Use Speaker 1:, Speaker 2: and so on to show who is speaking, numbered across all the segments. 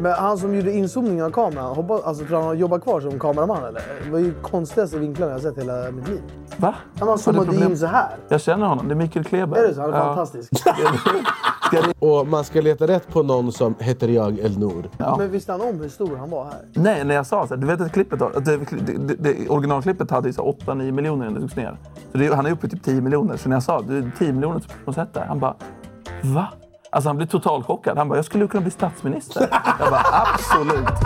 Speaker 1: Men han som gjorde inzoomningen av kameran, hoppas, alltså, tror han jobbar kvar som kameraman eller? Det var ju konstigaste vinklarna jag sett i hela mitt liv.
Speaker 2: Va?
Speaker 1: Han har zoomat
Speaker 2: problem?
Speaker 1: in så här.
Speaker 2: Jag känner honom. Det är Mikael Kleber.
Speaker 1: Är det så? Han är
Speaker 2: Ja.
Speaker 1: fantastisk.
Speaker 3: Och man ska leta rätt på någon som heter jag Elnor.
Speaker 2: Ja.
Speaker 1: Men visste han om hur stor han var här?
Speaker 2: Nej, när jag sa så här, du vet att klippet, har- att det, det, det, originalklippet hade ju så 8-9 miljoner innan det togs ner. Så det, han är uppe i typ 10 miljoner. Så när jag sa du är 10 miljoner som sett det här", han bara va? Alltså han blev totalchockad. Han bara jag skulle ju kunna bli statsminister. jag bara absolut.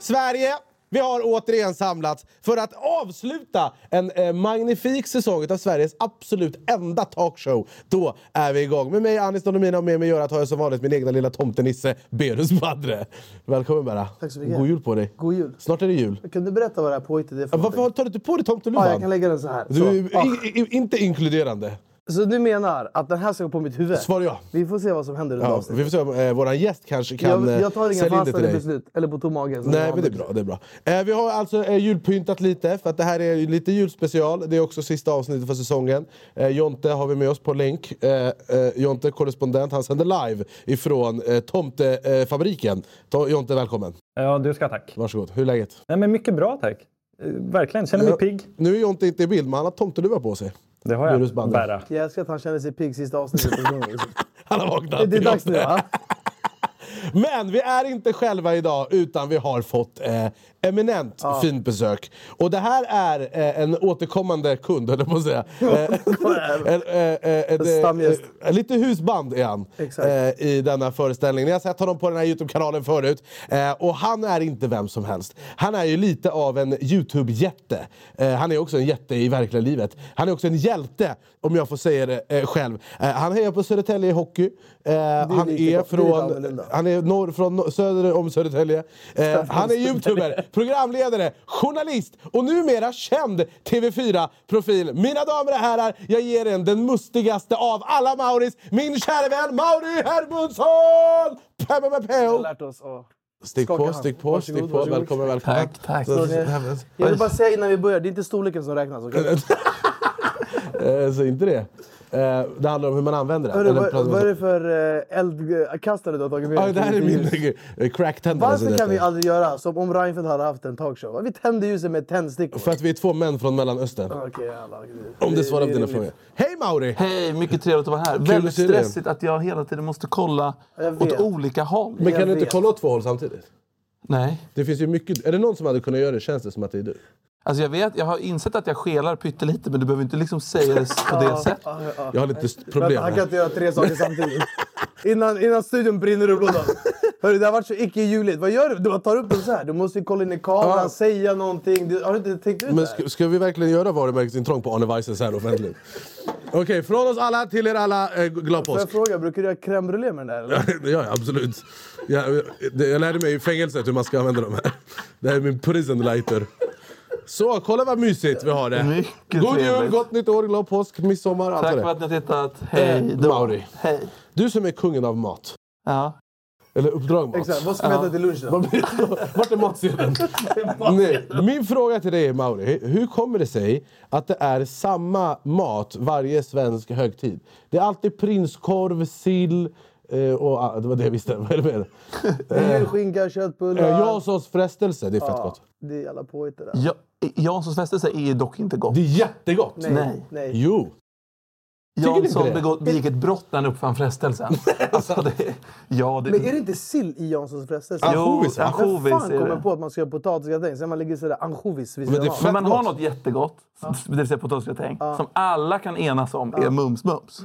Speaker 3: Sverige, vi har återigen samlats för att avsluta en eh, magnifik säsong av Sveriges absolut enda talkshow. Då är vi igång. Med mig Anis Don och med mig Göran tar jag som vanligt min egna lilla tomtenisse Berus Badre. Välkommen Berra.
Speaker 1: Tack så mycket.
Speaker 3: God jul på dig.
Speaker 1: God jul.
Speaker 3: Snart är det jul.
Speaker 1: Kan du berätta vad det här påhittet är för
Speaker 3: Varför
Speaker 1: någonting?
Speaker 3: tar du inte på dig
Speaker 1: Ja, jag kan
Speaker 3: tomteluvan?
Speaker 1: lägga den så här.
Speaker 3: Du
Speaker 1: så.
Speaker 3: är
Speaker 1: Ja.
Speaker 3: i- i- inte inkluderande.
Speaker 1: så du menar att den här ska gå på mitt huvud?
Speaker 3: Svar ja.
Speaker 1: Vi får se vad som händer under
Speaker 3: Ja,
Speaker 1: avsnittet.
Speaker 3: vi får se om eh, våran gäst kanske kan
Speaker 1: jag,
Speaker 3: eh,
Speaker 1: jag tar inga
Speaker 3: sälja in det till
Speaker 1: fastare
Speaker 3: dig.
Speaker 1: beslut, eller på tom mage. som
Speaker 3: Nej,
Speaker 1: jag
Speaker 3: men det är bra. Det är bra. Eh, vi har alltså eh, julpyntat lite, för att det här är ju lite julspecial. Det är också sista avsnittet för säsongen. Eh, Jonte har vi med oss på länk. Eh, eh, Jonte, korrespondent, han sänder live ifrån eh, Tomtefabriken. Eh, fabriken. Ta- Jonte, välkommen.
Speaker 4: Ja, du ska tack.
Speaker 3: Varsågod. Hur är läget?
Speaker 4: Nej, men mycket bra tack. Eh, Verkligen, känner mig
Speaker 3: Ja.
Speaker 4: pigg.
Speaker 3: Nu är Jonte inte i bild, men han har tomteluva på sig.
Speaker 4: Det har
Speaker 3: Virus
Speaker 4: jag.
Speaker 3: bandar.
Speaker 4: Bära.
Speaker 1: Jag älskar att han känner sig pigg sista avsnittet.
Speaker 3: Han har vaknat.
Speaker 1: det är dags nu
Speaker 3: Jonte.
Speaker 1: va?
Speaker 3: Men vi är inte själva idag, utan vi har fått eh, eminent fint besök. Och det här är eh, en återkommande kund, höll jag på att säga. Eh, en, eh, eh, ett, eh,
Speaker 1: Stamgäst.
Speaker 3: eh, lite husband är han
Speaker 1: Exakt.
Speaker 3: eh, i denna föreställning. Ni har sett honom på den här Youtube-kanalen förut. Eh, och han är inte vem som helst. Han är ju lite av en Youtube-jätte. Eh, han är också en jätte i verkliga livet. Han är också en hjälte, om jag får säga det eh, själv. Eh, han hejar på Södertälje i hockey. Eh, han
Speaker 1: lite-
Speaker 3: är
Speaker 1: det är
Speaker 3: från...
Speaker 1: annorlunda.
Speaker 3: Han är norr, från nor- söder om Södertälje. Eh, han är youtuber, programledare, journalist och numera känd TV4-profil. Mina damer och herrar, jag ger er den mustigaste av alla Mauris, min kära vän Mauri Hermundsson! Pe- pe- pe-
Speaker 1: Jag har
Speaker 3: pe-
Speaker 1: lärt oss att...
Speaker 3: Stick
Speaker 1: Skaka
Speaker 3: på,
Speaker 1: hand.
Speaker 3: stick på,
Speaker 1: Varsågod,
Speaker 3: stick på.
Speaker 1: varsågod.
Speaker 3: Välkommen, välkommen.
Speaker 2: Tack, tack.
Speaker 3: Så,
Speaker 1: Jag vill bara säga innan vi börjar, det är inte storleken som räknas. okej?
Speaker 3: eh, så inte det. Eh, det handlar om hur man använder den.
Speaker 1: Hörru,
Speaker 3: Eller
Speaker 1: vad,
Speaker 3: plasma-
Speaker 1: vad är det för eh, eldkastare du har tagit med
Speaker 3: Ja, det här är
Speaker 1: till ljus?
Speaker 3: min eh, cracktändare. som
Speaker 1: Varför
Speaker 3: det
Speaker 1: kan vi
Speaker 3: heter.
Speaker 1: aldrig göra som om Reinfeldt hade haft en talkshow? Vi tände ljuset med tändstickor.
Speaker 3: För att vi är två män från Mellanöstern.
Speaker 1: Okej, jävlar.
Speaker 3: Om det svarar
Speaker 1: det
Speaker 3: på
Speaker 1: är
Speaker 3: dina
Speaker 1: rimligt.
Speaker 3: frågor. Hej Mauri!
Speaker 2: Hej, mycket trevligt att vara här. Väldigt
Speaker 3: att se dig.
Speaker 2: stressigt att jag hela tiden måste kolla
Speaker 1: Jag vet.
Speaker 2: åt olika håll.
Speaker 3: Men kan
Speaker 1: Jag
Speaker 3: du inte
Speaker 1: vet.
Speaker 3: kolla åt två håll samtidigt?
Speaker 2: Nej.
Speaker 3: Det finns ju mycket... Är det någon som hade kunnat göra det känns det som att det är du.
Speaker 2: Alltså jag vet, jag har insett att jag skelar pyttelite men du behöver inte liksom säga det på det sättet.
Speaker 3: Jag har lite st-
Speaker 1: Vänta,
Speaker 3: problem.
Speaker 1: Han kan
Speaker 3: här.
Speaker 1: inte göra tre saker samtidigt. Innan, innan studion brinner ur blådan. Hörru, det har varit så icke-juligt. Vad gör du? Du bara tar upp den så här. Du måste ju kolla in i kameran,
Speaker 3: Ja.
Speaker 1: säga någonting. Du, har du inte tänkt ut
Speaker 3: Men
Speaker 1: det här?
Speaker 3: ska, ska vi verkligen göra varumärkesintrång på Arne Weise så här offentligt? Okej, från oss alla till er alla, eh, glad
Speaker 1: Får jag
Speaker 3: påsk!
Speaker 1: fråga, brukar du göra crème brûlée med den där? Eller?
Speaker 3: Det gör jag absolut. Jag, det- jag lärde mig i fängelset hur man ska använda de här. Det här är min prison lighter. Så, kolla vad mysigt vi har det!
Speaker 2: Mycket
Speaker 3: God jul,
Speaker 2: trevligt.
Speaker 3: gott nytt år, glad påsk, midsommar, allt
Speaker 2: Tack
Speaker 3: det
Speaker 2: för
Speaker 3: där.
Speaker 2: att ni har tittat. Hej
Speaker 3: Eh,
Speaker 2: då.
Speaker 3: Mauri.
Speaker 2: Hej.
Speaker 3: Du som är kungen av mat.
Speaker 2: Ja.
Speaker 3: Eller uppdrag mat.
Speaker 1: Exakt, vad ska vi äta till lunch då?
Speaker 3: Vart är matsedeln? Nej. Min fråga till dig Mauri, hur kommer det sig att det är samma mat varje svensk högtid? Det är alltid prinskorv, sill eh, och... ah, Det var det jag visste. Vad är det med
Speaker 1: Julskinka,
Speaker 3: det? Eh,
Speaker 1: köttbullar.
Speaker 3: Janssons frestelse, det är fett gott.
Speaker 1: Det är jävla påhitt det där.
Speaker 2: Ja, Janssons frestelse är ju dock inte gott.
Speaker 3: Det är jättegott!
Speaker 1: Nej.
Speaker 2: Nej.
Speaker 1: Nej.
Speaker 3: Jo! du inte
Speaker 2: Jansson
Speaker 3: det?
Speaker 2: begå- begick ett brott när han uppfann frestelsen. alltså det, ja, det,
Speaker 1: Men är det inte sill i Janssons frestelse?
Speaker 3: Jo, ansjovis, va?
Speaker 2: ansjovis
Speaker 1: Vem fan
Speaker 2: är det.
Speaker 1: kommer på att man ska göra potatisgratäng? Sen man lägger sådär ansjovis vid
Speaker 3: Men
Speaker 1: sidan
Speaker 3: det är
Speaker 1: av.
Speaker 3: fett
Speaker 2: Men man har
Speaker 3: gott.
Speaker 2: något jättegott, det vill säga potatisgratäng, som alla kan enas om är mums-mums.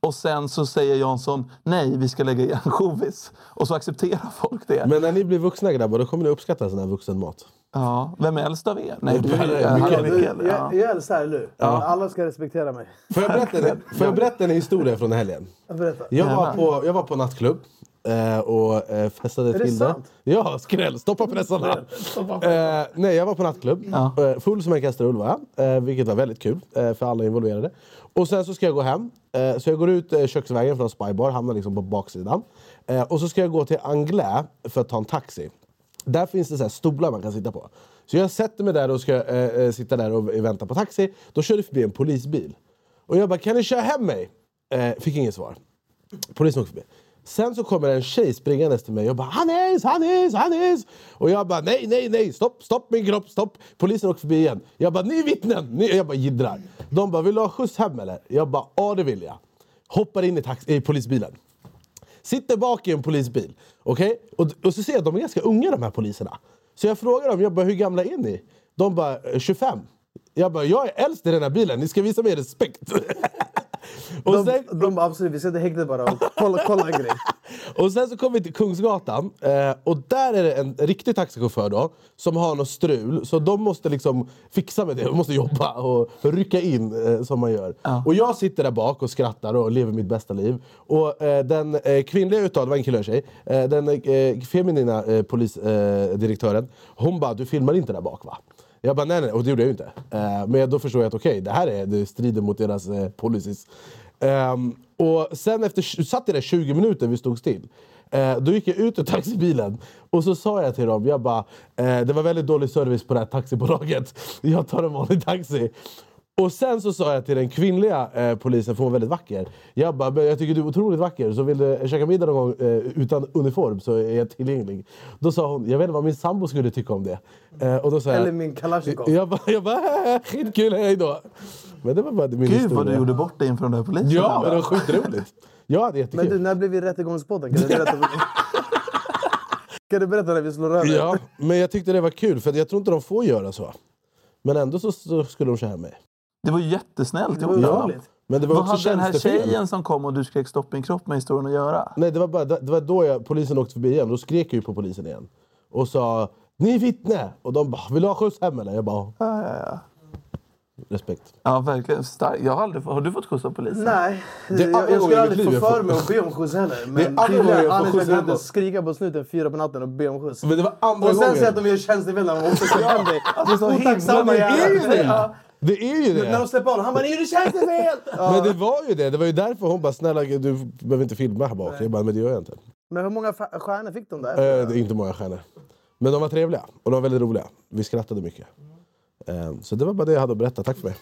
Speaker 2: Och sen så säger Jansson nej, vi ska lägga i ansjovis. Och så accepterar folk det.
Speaker 3: Men när ni blir vuxna grabbar, då kommer ni uppskatta sån här vuxenmat.
Speaker 2: ja, vem är äldst av er? Nej, du
Speaker 3: Per-
Speaker 2: är han är
Speaker 3: Mikael.
Speaker 2: Mikael. Ja.
Speaker 1: Jag, jag älskar här, eller hur? Alla ska respektera mig.
Speaker 3: Får jag berätta, en- får jag berätta en historia från helgen?
Speaker 1: Berätta.
Speaker 3: Jag var på, jag var på nattklubb. Eh, eh, och eh, festade
Speaker 1: det
Speaker 3: till det.
Speaker 1: sant?
Speaker 3: Ja, skräll! Stoppa pressarna! eh, nej, jag var på nattklubb. Eh, full som en kastrull var jag, eh, vilket var väldigt kul eh, för alla involverade. Och sen så ska jag gå hem. Eh, så jag går ut eh, köksvägen från Spybar, hamnar liksom på baksidan. Eh, och så ska jag gå till Anglais för att ta en taxi. Där finns det så här stolar man kan sitta på. Så jag sätter mig där och ska eh, eh, sitta där och vänta på taxi. Då kör det förbi en polisbil. Och jag bara, kan ni köra hem mig? Eh, fick inget svar. Polisen åkte förbi. Sen så kommer en tjej springandes till mig och bara Hannes, Hannes, Hannes! Och jag bara nej, nej, nej, stopp, stopp min kropp, stopp! Polisen åker förbi igen. Jag bara ni är vittnen! Ni... Jag bara jiddrar. De bara vill du ha skjuts hem eller? Jag bara ja det vill jag. Hoppar in i, tax- i polisbilen. Sitter bak i en polisbil. Okej? Och, och så ser jag att de är ganska unga de här poliserna. Så jag frågar dem, jag bara, hur gamla är ni? De bara, "Eh, 25. Jag bara, jag är äldst i den här bilen, ni ska visa mig respekt. och sen,
Speaker 1: De, de, absolut, vi sätter häktet bara och kolla, kolla en grej.
Speaker 3: och sen så kom vi till Kungsgatan eh, och där är det en riktig taxichaufför då som har något strul så de måste liksom fixa med det, de måste jobba och rycka in eh, som man gör. Och jag sitter där bak och skrattar och lever mitt bästa liv. Och eh, den eh, kvinnliga utav, det var en kille och en tjej, eh, den eh, feminina eh, polisdirektören eh, direktören, hon bara du filmar inte där bak va? Jag bara nej, nej, och det gjorde jag ju inte. Eh, men då förstår jag att okej, det här är, det strider mot deras eh, policies. Ehm, och sen efter, satt jag där 20 minuter, vi stod still. Eh, då gick jag ut ur taxibilen och så sa jag till dem, jag bara, eh, det var väldigt dålig service på det här taxibolaget. Jag tar en vanlig taxi. Och sen så sa jag till den kvinnliga eh, polisen, för hon var väldigt vacker. Jag bara, "Men jag tycker du är otroligt vacker, så vill du käka middag någon gång eh, utan uniform så är jag tillgänglig. Då sa hon, jag vet inte vad min sambo skulle tycka om det. Eh, och då sa jag,
Speaker 1: Eller min Kalashnikov.
Speaker 3: jag bara, jag bara skitkul, hej då. Men det var bara min
Speaker 2: Gud
Speaker 3: historia.
Speaker 2: vad du gjorde bort dig inför de där poliserna.
Speaker 3: Ja, men det var skitroligt. Jag hade jättekul.
Speaker 1: Men du, när blev vi Rättegångspodden? Kan du berätta? kan du berätta när vi slår över?
Speaker 3: Ja, men jag tyckte det var kul, för jag tror inte de får göra så. Men ändå så, så skulle de köra mig.
Speaker 2: Det var ju jättesnällt gjort.
Speaker 1: var
Speaker 2: av
Speaker 1: ju
Speaker 2: dem.
Speaker 1: roligt.
Speaker 3: Men det var
Speaker 2: Vad
Speaker 3: också
Speaker 2: hade den här
Speaker 3: tjänstefel.
Speaker 2: tjejen som kom och du skrek stopp min kropp med historien att göra?
Speaker 3: Nej, det var, bara, det var då jag, polisen åkte förbi igen. Då skrek jag ju på polisen igen. Och sa ni är vittne! Och de bara, vill du ha skjuts hem eller? Jag bara, ja.
Speaker 2: Ja, ja, ja.
Speaker 3: respekt.
Speaker 2: ja verkligen stark. Jag har, aldrig, har du fått skjuts av polisen?
Speaker 1: Nej,
Speaker 3: är andra
Speaker 1: jag, jag
Speaker 3: gången i
Speaker 1: skulle
Speaker 3: mitt
Speaker 1: aldrig
Speaker 3: liv
Speaker 1: få
Speaker 3: jag
Speaker 1: för
Speaker 3: får-
Speaker 1: mig att be om skjuts heller.
Speaker 3: Det är
Speaker 1: Men
Speaker 3: andra gången jag
Speaker 1: tydligen, Anders
Speaker 3: får skjuts
Speaker 1: jag kan
Speaker 3: hemma.
Speaker 1: inte skrika på snuten fyra på natten och be om skjuts.
Speaker 3: Men det var andra
Speaker 1: Och sen
Speaker 3: gången.
Speaker 1: säga att de gör tjänstefel när de också ska hem dig. Det är så
Speaker 3: Men
Speaker 1: otacksamma
Speaker 3: det är ju
Speaker 1: jävlar.
Speaker 3: det!
Speaker 1: Ja.
Speaker 3: Det är ju
Speaker 1: När de
Speaker 3: det!
Speaker 1: släpper honom, han bara “Ni gjorde tjänstefel!” ja.
Speaker 3: Men det var ju det. Det var ju därför hon bara, snälla gud, du behöver inte filma här bak. Jag bara, men det gör jag inte.
Speaker 1: Men hur många fa- stjärnor fick de där?
Speaker 3: Eh, det är inte många stjärnor. Men de var trevliga och de var väldigt roliga. Vi skrattade mycket. Eh, Så det var bara det jag hade att berätta. Tack för mig.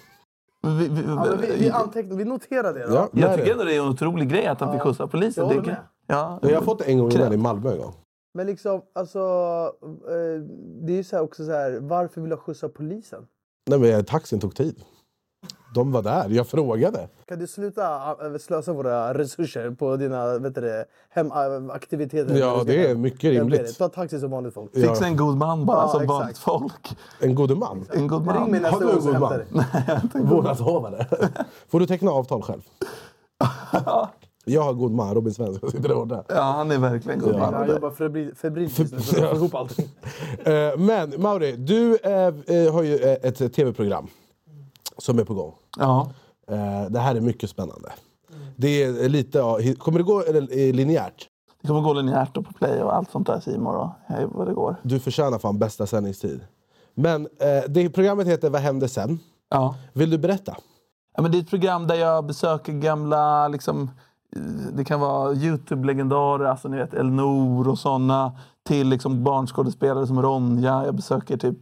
Speaker 2: Vi, vi,
Speaker 1: Ja, men vi, vi, antecknar, vi noterar det. Då.
Speaker 3: Ja, där
Speaker 2: jag
Speaker 3: är
Speaker 2: tycker
Speaker 3: det.
Speaker 2: ändå det är en otrolig grej att han fick skjuts av polisen.
Speaker 1: jag
Speaker 2: Det
Speaker 1: håller
Speaker 2: kan-
Speaker 1: med.
Speaker 2: Ja,
Speaker 3: Jag har fått det en gång innan i Malmö. En gång.
Speaker 1: Men liksom, alltså, eh, det är ju så här också så här, varför vill jag skjutsa polisen?
Speaker 3: Nej, men eh, taxin tog tid. De var där. Jag frågade.
Speaker 1: Kan du sluta eh, slösa våra resurser på dina vet du, det, eh, hemaktiviteter?
Speaker 3: Ja, det är mycket rimligt.
Speaker 1: Ta taxi som vanligt folk.
Speaker 3: Ja.
Speaker 2: Fixa en god man bara
Speaker 1: Ja,
Speaker 2: som
Speaker 1: exakt.
Speaker 2: vanligt folk.
Speaker 3: En gode man.
Speaker 2: En god
Speaker 1: Ring mig
Speaker 2: man.
Speaker 1: nästa
Speaker 3: Har du
Speaker 1: gång
Speaker 3: en
Speaker 1: så
Speaker 3: god
Speaker 1: hämtar
Speaker 3: man?
Speaker 1: jag dig.
Speaker 3: Vårdnadshavare. Får du teckna avtal själv? Jag har god man. Robin Svensson sitter där borta.
Speaker 2: Ja, han är verkligen god man.
Speaker 1: Han jobbar febril- febrilt just nu för att få ihop allting.
Speaker 3: Eh, Men Mauri, du eh, eh, har ju eh, ett tv-program som är på gång.
Speaker 2: Ja.
Speaker 3: Eh, Det här är mycket spännande. Det är lite, av- hi- kommer det gå eller, eh, linjärt?
Speaker 2: Det kommer gå linjärt och på play och allt sånt där C More och hej vad det går.
Speaker 3: Du förtjänar fan bästa sändningstid. Men eh, det, programmet heter Vad hände sen?
Speaker 2: Ja.
Speaker 3: Vill du berätta?
Speaker 2: Ja, men det är ett program där jag besöker gamla, liksom, eh, det kan vara Youtube-legendarer, alltså ni vet Elnor och såna till liksom barnskådespelare som Ronja. Jag besöker typ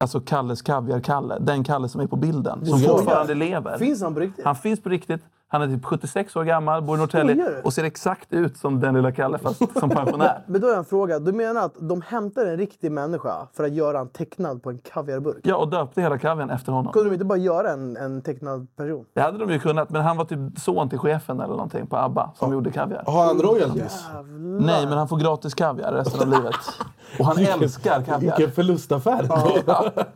Speaker 2: alltså Kalles Kaviar-Kalle, den Kalle som är på bilden, som
Speaker 3: Skojar du?
Speaker 2: fortfarande lever.
Speaker 1: Finns han på riktigt?
Speaker 2: Han finns på riktigt. Han är typ 76 år gammal, bor i Norrtälje
Speaker 1: Skojar du?
Speaker 2: och ser exakt ut som den lilla Kalle fast som pensionär.
Speaker 1: Men då har jag en fråga. Du menar att de hämtar en riktig människa för att göra en tecknad på en kaviarburk?
Speaker 2: Ja, och döpte hela kaviaren efter honom.
Speaker 1: Kunde de inte bara göra en, en tecknad person?
Speaker 2: Det hade de ju kunnat, men han var typ son till chefen eller någonting på ABBA som gjorde kaviar.
Speaker 3: Har han royalties?
Speaker 2: Nej, men han får gratis kaviar resten av livet. Och han älskar kaviar.
Speaker 3: Vilken förlustaffär!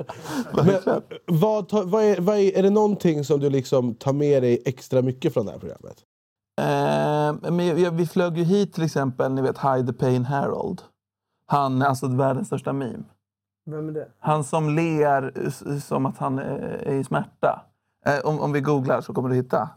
Speaker 3: Men, vad, ta- vad är, vad är, är det någonting som du liksom tar med dig extra mycket från det här programmet?
Speaker 2: Eh, men jag- jag- vi flög ju hit till exempel, ni vet Hide the Pain Harold. Han är alltså världens största meme.
Speaker 1: Vem är det?
Speaker 2: Han som ler eh, s- som att han eh, är i smärta. Eh, om, om vi googlar så kommer du hitta.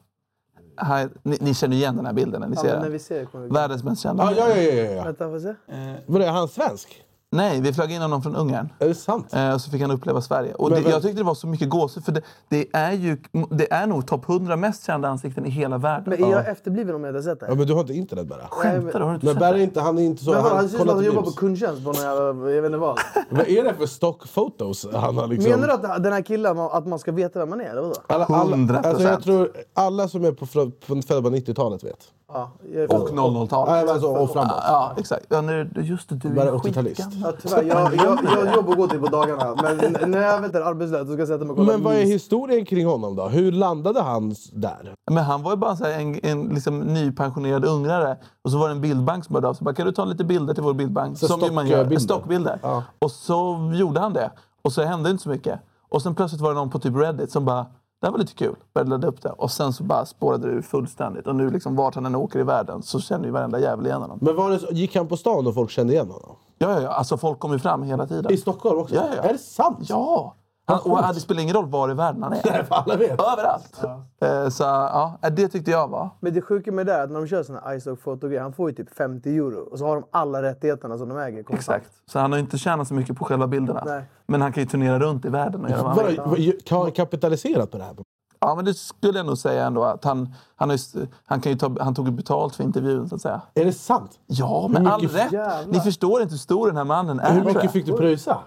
Speaker 2: här, ni, ni känner igen den här bilden när ni
Speaker 1: Ja,
Speaker 2: ser
Speaker 1: men när
Speaker 2: den.
Speaker 1: vi ser kommer vi...
Speaker 2: Världens mest kända.
Speaker 3: Ja, ja, ja. ja, ja.
Speaker 1: Vänta, får jag se?
Speaker 3: Vadå, är han svensk?
Speaker 2: Nej, vi flög in honom från Ungern.
Speaker 3: Är det sant?
Speaker 2: Eh, och så fick han uppleva Sverige. Och
Speaker 3: Men
Speaker 2: det,
Speaker 3: vem-
Speaker 2: jag tyckte det var så mycket gåshud. För det, det, är ju, det är nog topp 100 mest kända ansikten i hela världen.
Speaker 1: Men är jag efterbliven om jag inte har sett det?
Speaker 3: Ja, men du har inte internet bara.
Speaker 2: Skämtar du? Har du inte
Speaker 3: Men
Speaker 2: sett
Speaker 3: Berg är
Speaker 2: det?
Speaker 3: inte, han är inte så...
Speaker 1: Men vadå, han ser ut som att han
Speaker 3: kollar
Speaker 1: jobbar
Speaker 3: inte
Speaker 1: på kundtjänst på någon jävla... Jag vet inte vad.
Speaker 3: memes. Vad är det för stock photos han har liksom...
Speaker 1: Menar du att den här killen, att man ska veta vem man är eller vadå?
Speaker 3: Alla, alla,
Speaker 2: 100%.
Speaker 3: alltså jag tror alla som är på, frö- på födda på 90-talet vet.
Speaker 1: Ja, jag är
Speaker 2: Och 00-talet.
Speaker 3: Nej, men alltså, och framåt.
Speaker 2: Ja, exakt. Ja, nu, just det, du
Speaker 3: Bara
Speaker 2: är ju
Speaker 3: 80-talist.
Speaker 2: skitgammal.
Speaker 1: Ja, tyvärr, jag, jag, jag har jobb att gå till typ på dagarna. Men n- när jag väntar arbetslös så ska jag sätta mig och kolla.
Speaker 3: Men vad är historien kring honom då? Hur landade han s- där?
Speaker 2: Men han var ju bara så här en, en liksom nypensionerad ungrare. Och så var det en bildbank som hörde av sig. Bara, Kan du ta lite bilder till vår bildbank?
Speaker 3: Så
Speaker 2: som ju man gör.
Speaker 3: stockbilder.
Speaker 2: Stockbilder.
Speaker 3: Ja.
Speaker 2: Och så gjorde han det. Och så hände inte så mycket. Och sen plötsligt var det någon på typ Reddit som bara det här var lite kul. Började ladda upp det. Och sen så bara spårade det ur fullständigt. Och nu liksom vart han än åker i världen så känner ju varenda jävel igen honom.
Speaker 3: Men var det, så- gick han på stan och folk kände igen honom?
Speaker 2: Ja, ja, ja. Alltså folk kommer ju fram hela tiden.
Speaker 3: I Stockholm också?
Speaker 2: Ja, ja, ja.
Speaker 3: Är det sant?
Speaker 2: Ja! Han, och det spelar ingen roll var i världen han är.
Speaker 3: Alla vet.
Speaker 2: Överallt! Eh, Så ja, det tyckte jag var.
Speaker 1: Men det sjuka med det är att när de kör såna här isoc fotogrejer han får ju typ 50 euro. Och så har de alla rättigheterna som de äger. konstant.
Speaker 2: Exakt. Så han har ju inte tjänat så mycket på själva bilderna.
Speaker 1: Nej.
Speaker 2: Men han kan ju turnera runt i världen och göra vad han vill.
Speaker 3: Vadå, har han kapitaliserat på det här?
Speaker 2: Ja, men det skulle jag nog säga ändå att han, han, har ju, st- han, kan ju ta, han tog ju betalt för intervjun så att säga.
Speaker 3: Är det sant?
Speaker 2: Ja, med all
Speaker 3: mycket-
Speaker 2: rätt!
Speaker 1: Jävlar.
Speaker 2: Ni förstår inte hur stor den här mannen är.
Speaker 3: Hur
Speaker 2: tror
Speaker 3: mycket
Speaker 2: jag.
Speaker 3: fick du pröjsa?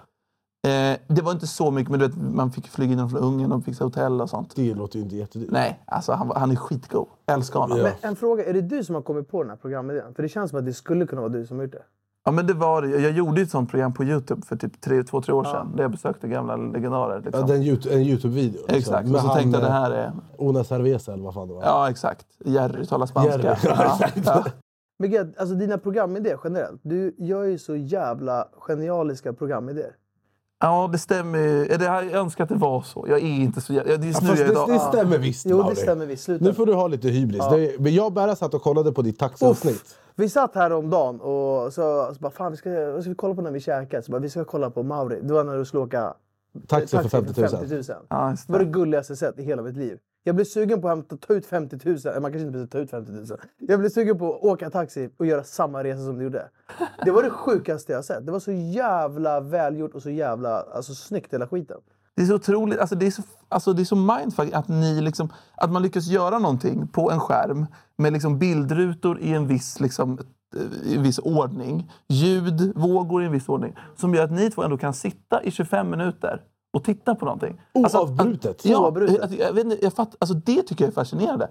Speaker 2: eh, det var inte så mycket, men du vet, man fick ju flyga in honom från Ungern och fixa hotell och sånt.
Speaker 3: Det låter ju inte jättedyrt.
Speaker 2: Nej, alltså han, var- han är skitgod. Älskar honom.
Speaker 3: Ja.
Speaker 2: Ja.
Speaker 1: Men en fråga, är det du som har kommit på den här programidén? För det känns som att det skulle kunna vara du som har gjort det.
Speaker 2: men det var det. Jag gjorde ju ett sånt program på Youtube för typ tre, två, tre år sedan. Där jag besökte gamla legendarer. Liksom.
Speaker 3: Ja, den YouTube, en Youtube-video. liksom.
Speaker 2: Exakt.
Speaker 3: Med
Speaker 2: Och så tänkte jag
Speaker 3: eh,
Speaker 2: det här är...
Speaker 3: Una Cerveza eller vad fan det var.
Speaker 2: Ja, exakt. Jerry talar spanska.
Speaker 3: Jerry. Ja,
Speaker 2: Ja,
Speaker 3: exakt.
Speaker 2: ja.
Speaker 1: Men Gerd, alltså dina programidéer generellt. Du gör ju så jävla genialiska programidéer.
Speaker 2: Ja, det stämmer. ju. Eller Jag önskar att det var så. Jag är inte så jävla... Det är just nu
Speaker 3: Fast
Speaker 2: jag är
Speaker 3: det, det
Speaker 2: idag.
Speaker 3: stämmer visst
Speaker 1: Jo, det
Speaker 3: Mauri.
Speaker 1: stämmer visst. Sluta.
Speaker 3: Nu får du ha lite hybris. Det, men jag och Berra satt och kollade på ditt taxavsnitt.
Speaker 1: Vi satt här om dagen och så, så bara, fan vi ska, vad ska vi kolla på när vi käkar? Så bara, vi ska kolla på Mauri. Det var när du skulle åka
Speaker 3: Taxi för 50 000.
Speaker 1: 50 000.
Speaker 2: Ja, just
Speaker 1: Det var det
Speaker 2: det.
Speaker 1: gulligaste jag sett i hela mitt liv. Jag blev sugen på att hämta, ta ut 50 000. Eh, Man kanske inte behöver ta ut 50 000. Jag blev sugen på att åka taxi och göra samma resa som du gjorde. Det var det sjukaste jag sett. Det var så jävla välgjort och så jävla alltså, snyggt hela skiten.
Speaker 2: det är så otroligt. Alltså, det är så, alltså, det är så mindfuck att, ni liksom, att man lyckas göra någonting på en skärm med liksom bildrutor i en viss, liksom, eh, i en viss ordning. Ljud, vågor i en viss ordning. Som gör att ni två ändå kan sitta i 25 minuter och titta på någonting.
Speaker 3: Oh,
Speaker 2: Alltså,
Speaker 3: Oavbrutet.
Speaker 2: Att, att, ja,
Speaker 1: Oavbrutet.
Speaker 2: att, jag vet inte, jag fatt, alltså, det tycker jag är fascinerande.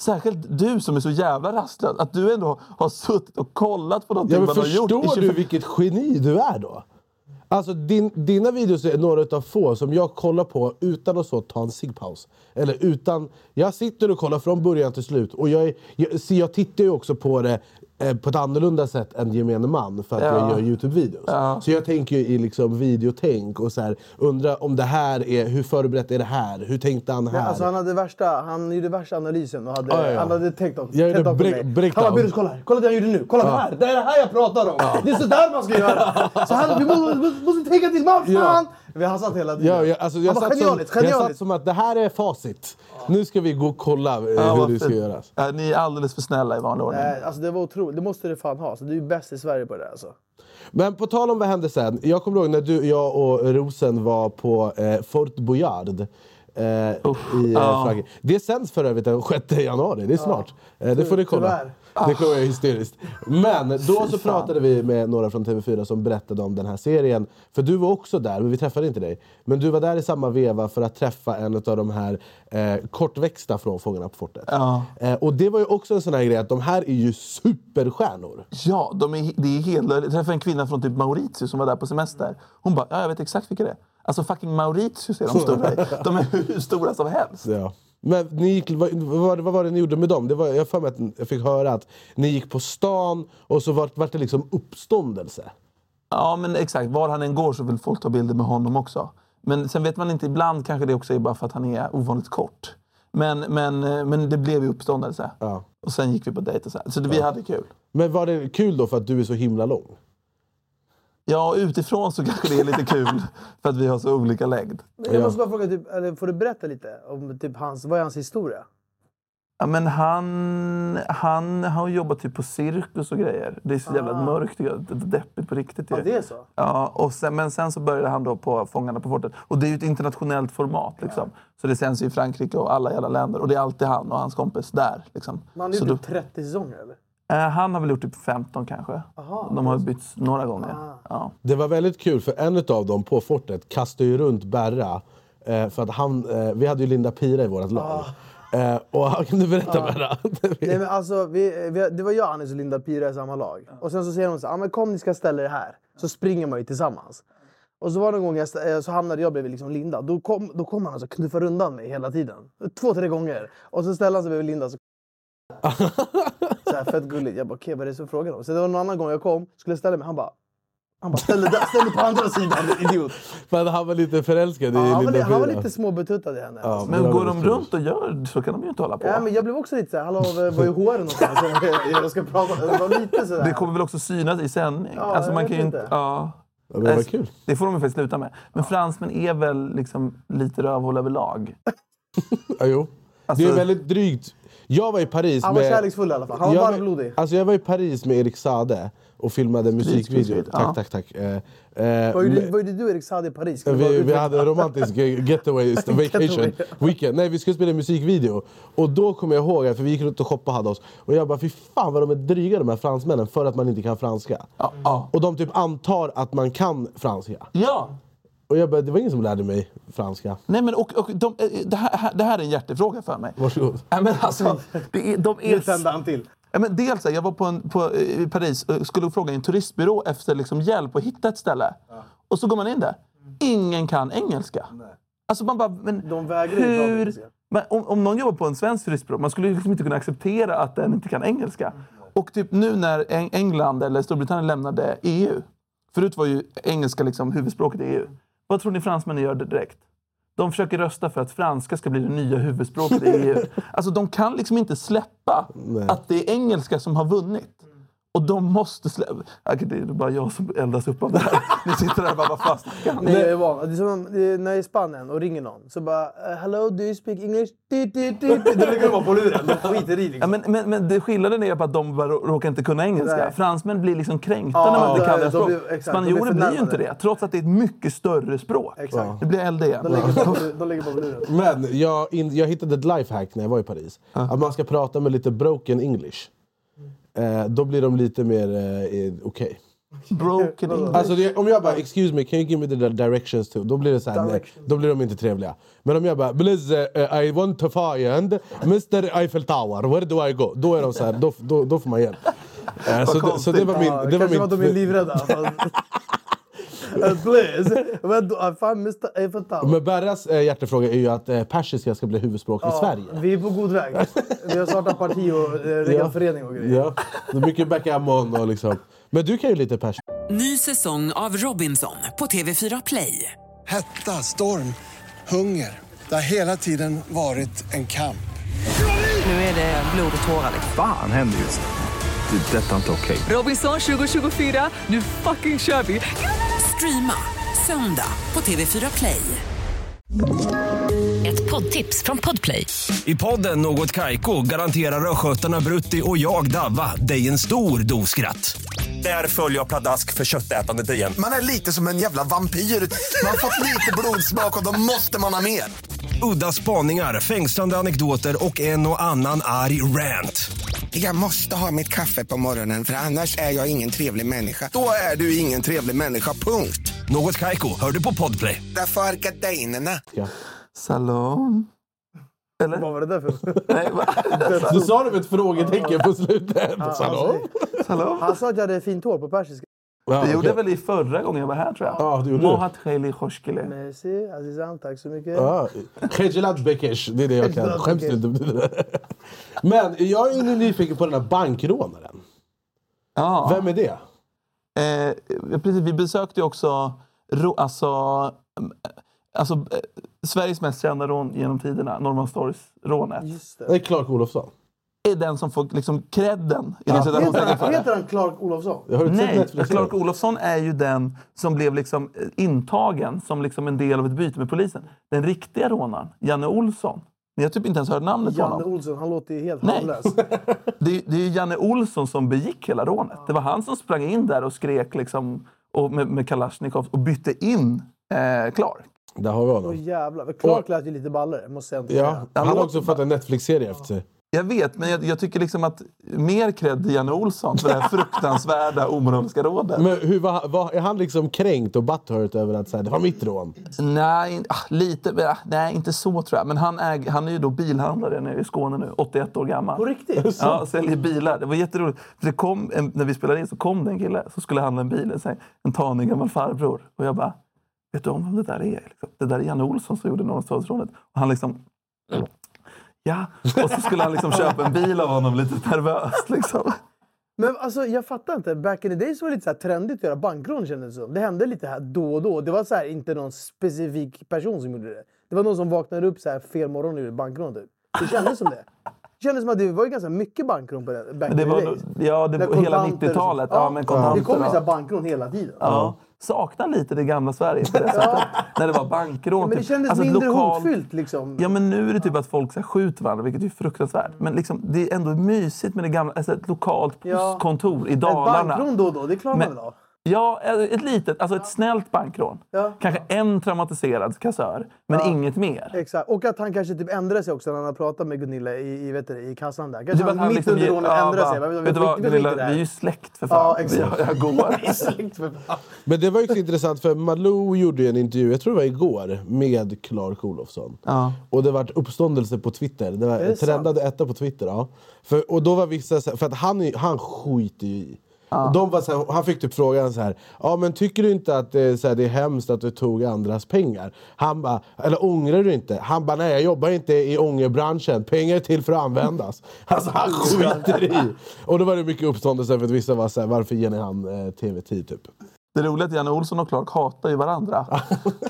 Speaker 2: Särskilt du som är så jävla rastlös. Att du ändå har suttit och kollat på någonting
Speaker 3: Ja, men
Speaker 2: man har gjort i
Speaker 3: förstår
Speaker 2: 25
Speaker 3: du vilket geni du är då? Alltså din, dina videos är några av få som jag kollar på utan att så ta en ciggpaus. Eller utan... Jag sitter och kollar från början till slut. Och jag, är, jag, så jag tittar ju också på det eh, på ett annorlunda sätt än gemene man för att jag
Speaker 2: Ja.
Speaker 3: gör Youtube-videos. Så jag tänker ju i liksom videotänk och så här, undrar om det här är... Hur förberett är det här? Hur tänkte han här?
Speaker 1: Men, alltså, han, hade värsta, han gjorde värsta analysen och hade,
Speaker 3: Ja, ja, ja.
Speaker 1: han hade tänkt om.
Speaker 3: Jag gjorde
Speaker 1: tänkt om på
Speaker 3: break-
Speaker 1: mig.
Speaker 3: breakdown.
Speaker 1: Han bara “Birus, kolla här, kolla det jag gjorde nu, kolla det här, det är det här jag pratar om. Det är sådär man ska göra!” Så han, vi måste, måste, måste tänka till, man,
Speaker 3: Ja.
Speaker 1: fan! Vi har satt hela tiden.
Speaker 3: Ja, jag, alltså, jag,
Speaker 1: han bara
Speaker 3: satt som,
Speaker 1: “Genialiskt,
Speaker 3: jag satt
Speaker 1: genialiskt!”
Speaker 3: som att det här är facit. Nu ska vi gå och kolla eh,
Speaker 2: Ja,
Speaker 3: hur
Speaker 2: vad
Speaker 3: det ska
Speaker 2: fint.
Speaker 3: göras.
Speaker 2: Ja, ni är alldeles för snälla i vanlig ordning.
Speaker 1: Nej, alltså, det var otroligt, det måste du fan ha. Så du är bäst i Sverige på det där, alltså.
Speaker 3: Men på tal om vad hände sen. Jag kommer ihåg när du, jag och Rosen var på eh, Fort Boyard. Eh, i, eh,
Speaker 2: ja.
Speaker 3: Frankrike. Det sänds för övrigt den 6 januari, det är snart. Eh, det får ni kolla.
Speaker 1: tyvärr.
Speaker 3: Det kommer vara hysteriskt. Men då
Speaker 2: fan.
Speaker 3: så pratade vi med några från TV4 som berättade om den här serien. För du var också där, men vi träffade inte dig. Men du var där i samma veva för att träffa en av de här eh, kortväxta från Fångarna på fortet.
Speaker 2: Ja.
Speaker 3: Eh, och det var ju också en sån här grej att de här är ju superstjärnor.
Speaker 2: Ja, de är, det är helt löjligt. Jag träffade en kvinna från typ Mauritius som var där på semester. Hon bara, ja, jag vet exakt vilka det är. Alltså fucking Mauritius är de stora i. De är hur stora som helst.
Speaker 3: Ja. Men ni gick, vad, vad, var det- vad var det ni gjorde med dem? Det var, jag har för mig att jag fick höra att ni gick på stan och så vart var det liksom uppståndelse.
Speaker 2: Ja, men exakt. Var han än går så vill folk ta bilder med honom också. Men sen vet man inte, ibland kanske det också är bara för att han är ovanligt kort. Men, men, eh, men det blev ju uppståndelse.
Speaker 3: Ja.
Speaker 2: Och sen gick vi på dejt och så här. Så det, vi hade kul.
Speaker 3: Men var det kul då för att du är så himla lång?
Speaker 2: Ja, utifrån så kanske det är lite kul för att vi har så olika längd.
Speaker 1: Men Jag måste bara fråga, typ, eller får du berätta lite om typ, hans, vad är hans historia?
Speaker 2: Ja, men han, han har jobbat typ på cirkus och grejer. Det är så jävla mörkt och jävla deppigt på riktigt. ju.
Speaker 1: Ah. Ja, det är så.
Speaker 2: Ja, och sen, men sen så började han då på Fångarna på fortet. Och det är ju ett internationellt format. Liksom. Så det sänds ju i Frankrike och alla jävla länder. Och det är alltid han och hans kompis där. Liksom.
Speaker 1: Man
Speaker 2: Så
Speaker 1: gjorde
Speaker 2: då,
Speaker 1: typ 30 säsonger eller?
Speaker 2: eh, han har väl gjort typ 15 kanske. De har ju bytts några gånger.
Speaker 1: Ah.
Speaker 2: Ja.
Speaker 3: Det var väldigt kul för en av dem på fortet kastade ju runt Berra. Eh, för att han, eh, vi hade ju Linda Pira i vårt lag. Eh, och han kunde berätta Berra.
Speaker 1: Ah. Nej, men alltså, vi, vi, det var jag, Anis och Linda Pira i samma lag. Och sen så säger hon så här, "Ah, men kom ni ska ställa er här. Så springer man ju tillsammans. Och så var det en gång jag stä- eh, så hamnade jag bredvid liksom Linda. Då kom, då kom han alltså knuffa undan mig hela tiden. Två, tre gånger. Och så ställde han sig bredvid Linda. Så, så här, fett gulligt. Jag bara, okej vad är det som frågar om? Sen det var någon annan gång jag kom, skulle ställa mig. Han bara, han bara ställ dig där, ställ dig på andra sidan din idiot.
Speaker 3: Men han var lite förälskad i
Speaker 1: Ja, Ah, han, var, li-
Speaker 3: Linda
Speaker 1: han var
Speaker 3: Pira.
Speaker 1: lite småbetuttad i henne.
Speaker 3: Ja, det
Speaker 2: Men
Speaker 3: var
Speaker 2: går de
Speaker 3: väldigt kul.
Speaker 2: runt och gör så kan de ju inte hålla på.
Speaker 1: Ja, men jag blev också lite såhär, hallå v- var är HR någonstans? jag ska prata, det var lite sådär.
Speaker 2: Det kommer väl också synas i sändning? Alltså,
Speaker 1: Ja, jag vet
Speaker 2: ju
Speaker 1: inte.
Speaker 2: Ja.
Speaker 3: Ja, men det var kul.
Speaker 2: Alltså, Det får de ju faktiskt sluta med. Men fransmän är väl liksom lite rövhål överlag.
Speaker 3: Ja, jo.
Speaker 2: Alltså-
Speaker 3: Det är väldigt drygt. Jag var i Paris
Speaker 1: Han var
Speaker 3: med...
Speaker 1: kärleksfull i alla fall. Han var
Speaker 3: Jag-
Speaker 1: varmblodig.
Speaker 3: Alltså jag var i Paris med Erik Sade och filmade musikvideo.
Speaker 2: Spritsprit,
Speaker 3: Tack,
Speaker 2: ja.
Speaker 3: tack, tack. Eh, eh,
Speaker 1: Vad gjorde,
Speaker 3: men-
Speaker 1: vad gjorde du och Erik Saade i Paris? Ska vi bara
Speaker 3: vi, vi
Speaker 1: utveckla?
Speaker 3: hade en romantisk eh, getaway, vacation, weekend. Nej, vi skulle spela en musikvideo. Och då kommer jag ihåg, att- för vi gick runt och shoppade och hade oss. Och jag bara, fy fan vad de är dryga de här fransmännen för att man inte kan franska.
Speaker 2: Ja. ja.
Speaker 3: Och de typ antar att man kan franska.
Speaker 2: ja.
Speaker 3: Och jag bara, det var ingen som lärde mig franska.
Speaker 2: Nej, men och, och de, eh, det, här- här, det här är en hjärtefråga för mig.
Speaker 3: Varsågod.
Speaker 2: Nej, men alltså, det är, de
Speaker 1: Nu
Speaker 2: är
Speaker 1: tände han till.
Speaker 2: Ja, men dels, så här, jag var på en, på, eh, i Paris och skulle fråga en turistbyrå efter liksom, hjälp att hitta ett ställe. Och så går man in där. Ingen kan engelska. Alltså man bara, men
Speaker 1: De vägrar ju prata
Speaker 2: hur...
Speaker 1: engelska.
Speaker 2: Men om, om någon jobbar på en svensk turistbyrå, man skulle ju liksom inte kunna acceptera att den inte kan engelska.
Speaker 1: Mm.
Speaker 2: Och typ nu när Eng- England eller Storbritannien lämnade EU. Förut var ju engelska liksom huvudspråket i EU. Vad tror ni fransmännen gör direkt? De försöker rösta för att franska ska bli det nya huvudspråket i EU. Alltså de kan liksom inte släppa att det är engelska som har vunnit. Och de måste släppa... Det är bara jag som eldas upp av det här. Ni sitter där och bara, vad fan snackar han om?
Speaker 1: Nej, jag är van. Det är som om, eh, när jag är i Spanien och ringer någon så bara eh, “Hello, do you speak English?” Di, di, di, di. Då lägger de bara på luren. De skiter i
Speaker 2: Ja,
Speaker 1: liksom.
Speaker 2: men, men, men det skillnaden är bara att de bara rå- råkar inte kunna engelska.
Speaker 1: Nej.
Speaker 2: Fransmän blir liksom kränkta
Speaker 1: Ja,
Speaker 2: när man inte
Speaker 1: de-
Speaker 2: kan deras
Speaker 1: de
Speaker 2: språk.
Speaker 1: blir- exakt, de blir
Speaker 2: Spanjorer blir ju
Speaker 1: förnärmade.
Speaker 2: inte det, trots att det är ett mycket större språk.
Speaker 1: Exakt.
Speaker 2: Det blir LD.
Speaker 1: De lägger på, de lägger på luren.
Speaker 3: Men jag, in, jag hittade ett lifehack när jag var i Paris. Att man ska prata med lite broken English.
Speaker 1: Mm.
Speaker 3: Eh, då blir de lite mer eh, eh, okej.
Speaker 2: Broken English.
Speaker 3: Alltså det, om jag bara “excuse me, can you give me the di- directions to?” Då blir det så här, nej, då blir de inte trevliga. Men om jag bara “please, eh, I want to find Mr Eiffel Tower, where do I go?” Då är de så här, då, då, då får man hjälp. Eh, så, det, så det var
Speaker 1: Ja,
Speaker 3: min... Det var
Speaker 1: kanske
Speaker 3: min
Speaker 1: var de är livrädda. Fast- Please! Where do I find Mr Eiffel Tower?
Speaker 3: men Berras eh, hjärtefråga är ju att eh, persiska ska bli huvudspråk i Sverige.
Speaker 1: Vi är på god väg. Vi har startat parti och eh, regelförening och grejer.
Speaker 3: Ja. Det är mycket backgammon och liksom... Men du kan ju lite persiska.
Speaker 5: Ny säsong av Robinson på TV4 Play.
Speaker 6: Hetta, storm, hunger. Det har hela tiden varit en kamp.
Speaker 5: Nu är det blod och tårar. liksom.
Speaker 7: Fan händer just nu. Det. är Detta är inte okej.
Speaker 5: Robinson 2024, nu fucking kör vi! Streama söndag på TV4 Play.
Speaker 8: Ett poddtips från Podplay.
Speaker 9: I podden Något Kaiko garanterar östgötarna Brutti och jag, Davva, dig en stor dos skratt. Där följer jag pladask för köttätandet igen.
Speaker 10: Man är lite som en jävla vampyr. Man har fått lite blodsmak och då måste man ha mer.
Speaker 9: Udda spaningar, fängslande anekdoter och en och annan arg rant.
Speaker 10: Jag måste ha mitt kaffe på morgonen för annars är jag ingen trevlig människa. Då är du ingen trevlig människa, punkt.
Speaker 9: Något Kaiko, hör du på Podplay.
Speaker 10: Därför är gardinerna.
Speaker 2: Salon.
Speaker 1: Vad var det där för...
Speaker 2: Nej, va?
Speaker 3: Du sa det med ett frågetecken på slutet. Hallå?
Speaker 2: Salon.
Speaker 1: Han sa att jag hade fint hår på persiska.
Speaker 3: Ja,
Speaker 2: Det gjorde
Speaker 3: okej.
Speaker 2: jag väl i förra gången jag var här tror jag.
Speaker 3: Ja, det gjorde du.
Speaker 2: Mohat Kheli Khoshkele.
Speaker 1: Merci, Azizan. Eh, Tack så mycket.
Speaker 3: Ja, Khejilat Bekesh, det är det jag kan.
Speaker 1: Khejilat
Speaker 3: Skäms du inte om det? Men jag är ju nyfiken på den här bankrånaren.
Speaker 2: Ja.
Speaker 3: Vem är det?
Speaker 2: Eh, precis, vi besökte ju också ro, alltså, mm, alltså, eh, Sveriges mest kända rån genom tiderna, Norrmalmstorgsrånet.
Speaker 1: Just det.
Speaker 3: Det är Clark Olofsson.
Speaker 2: är den som får liksom credden. i den situationen.
Speaker 1: Heter han, heter han Clark Olofsson?
Speaker 3: Jag har du sett
Speaker 2: Nej,
Speaker 3: Netflix-serien?
Speaker 2: Clark Olofsson är ju den som blev liksom eh, intagen som liksom en del av ett byte med polisen. Den riktiga rånaren, Janne Olsson, Ni har typ inte ens hört namnet på
Speaker 1: Janne
Speaker 2: honom.
Speaker 1: Olsson, han låter ju helt
Speaker 2: Nej.
Speaker 1: harmlös.
Speaker 2: Det, är- det är ju Janne Olsson som begick hela rånet. Det var han som sprang in där och skrek liksom, och med, med Kalashnikov och bytte in eh, Clark.
Speaker 3: Där har vi
Speaker 1: Åh
Speaker 3: honom.
Speaker 1: jävlar. men Clark lät ju lite ballare, måste jag inte
Speaker 3: Ja,
Speaker 1: säga.
Speaker 3: han har också fått en Netflix-serie efter sig.
Speaker 2: Jag vet, men jag, jag tycker liksom att mer cred till Janne Olsson för det här fruktansvärda omoraliska rådet.
Speaker 3: Men hur var, var, är han liksom kränkt och butthurt över att så här, det var mitt rån?
Speaker 2: Nej, in- ah, lite, ah, nej, inte så tror jag. Men han, äg, han är ju då bilhandlare nere i Skåne nu, 81 år gammal.
Speaker 1: På riktigt?
Speaker 2: Ja, säljer bilar. Det var jätteroligt. För det kom en, när vi spelade in så kom det en kille som skulle handla en bil. En, sån här- en tanig gammal farbror. Och jag bara, vet du om vem det där är? Liksom. Det där är Janne Olsson som gjorde Norrstadsrånet. Och han liksom, ja. Och så skulle han liksom köpa en bil av honom lite nervöst. Liksom.
Speaker 1: Men alltså, jag fattar inte. Back in the days var det lite så här trendigt att göra bankrån kändes det som. Det hände lite här då och då. Det var så här, inte någon specifik person som gjorde det. Det var någon som vaknade upp så här fel morgon och gjorde bankrån typ. Det kändes som det. Det kändes som att det var ju ganska mycket bankrån på det, back
Speaker 2: Men det
Speaker 1: in
Speaker 2: var,
Speaker 1: the days.
Speaker 2: nog- ja, det,
Speaker 1: Med
Speaker 2: var hela
Speaker 1: kontanter och så.
Speaker 2: 90-talet. Ja, men
Speaker 1: det
Speaker 2: kontanter,
Speaker 1: kom ju så
Speaker 2: ja.
Speaker 1: här bankrån hela tiden.
Speaker 2: Ja. Saknar lite det gamla Sverige på det sättet. När det var bankrån.
Speaker 1: Men det
Speaker 2: typ.
Speaker 1: kändes
Speaker 2: Alltså,
Speaker 1: mindre
Speaker 2: lokalt-
Speaker 1: hotfyllt liksom.
Speaker 2: Ja, men nu är det typ att folk så här, skjuter varandra, vilket är fruktansvärt. Men liksom, det är ändå mysigt med det gamla, alltså ett lokalt
Speaker 1: Mm. Ja.
Speaker 2: postkontor i
Speaker 1: Ett
Speaker 2: Dalarna.
Speaker 1: bankrån då och då, det klarar man
Speaker 2: Men-
Speaker 1: väl av?
Speaker 2: Ja, ett ett litet, alltså ett snällt bankrån.
Speaker 1: Ja.
Speaker 2: Kanske en traumatiserad kassör, men inget mer.
Speaker 1: Exakt. Och att han kanske typ ändrade sig också när han har pratat med Gunilla i, i, vet du, det, i kassan där.
Speaker 2: Det
Speaker 1: Kanske
Speaker 2: är bara
Speaker 1: han,
Speaker 2: att han
Speaker 1: mitt
Speaker 2: liksom
Speaker 1: under
Speaker 2: ger-
Speaker 1: rånet
Speaker 2: ja,
Speaker 1: ändrade
Speaker 2: bara,
Speaker 1: sig. Bara,
Speaker 2: Vet du vad,
Speaker 1: skiter i
Speaker 2: Gunilla,
Speaker 1: det
Speaker 2: vi
Speaker 1: här."
Speaker 2: är ju släkt för fan.
Speaker 1: Ja, exakt.
Speaker 2: Jag, jag går.
Speaker 1: Släkt för fan.
Speaker 3: Men det var ju också intressant för Malou gjorde ju en intervju, jag tror det var igår, med Clark Olofsson.
Speaker 2: Ja.
Speaker 3: Och det vart uppståndelse på Twitter. Det var
Speaker 1: det
Speaker 3: trendade etta på Twitter. Ja. För, och då var vissa så här, för att han, är- han skiter ju i. Och De var så här, han fick typ frågan så här, ja men tycker du inte att det, är så här, det är hemskt att du tog andras pengar? Han bara, eller ångrar du inte? Han bara, nej jag jobbar inte i ångerbranschen, pengar är till för att användas. Alltså han skiter i. Och då var det mycket uppståndelse för att vissa var så här, varför ger ni han eh, TV10 typ?
Speaker 2: Det roliga är att Janne Olsson och Clark hatar ju varandra.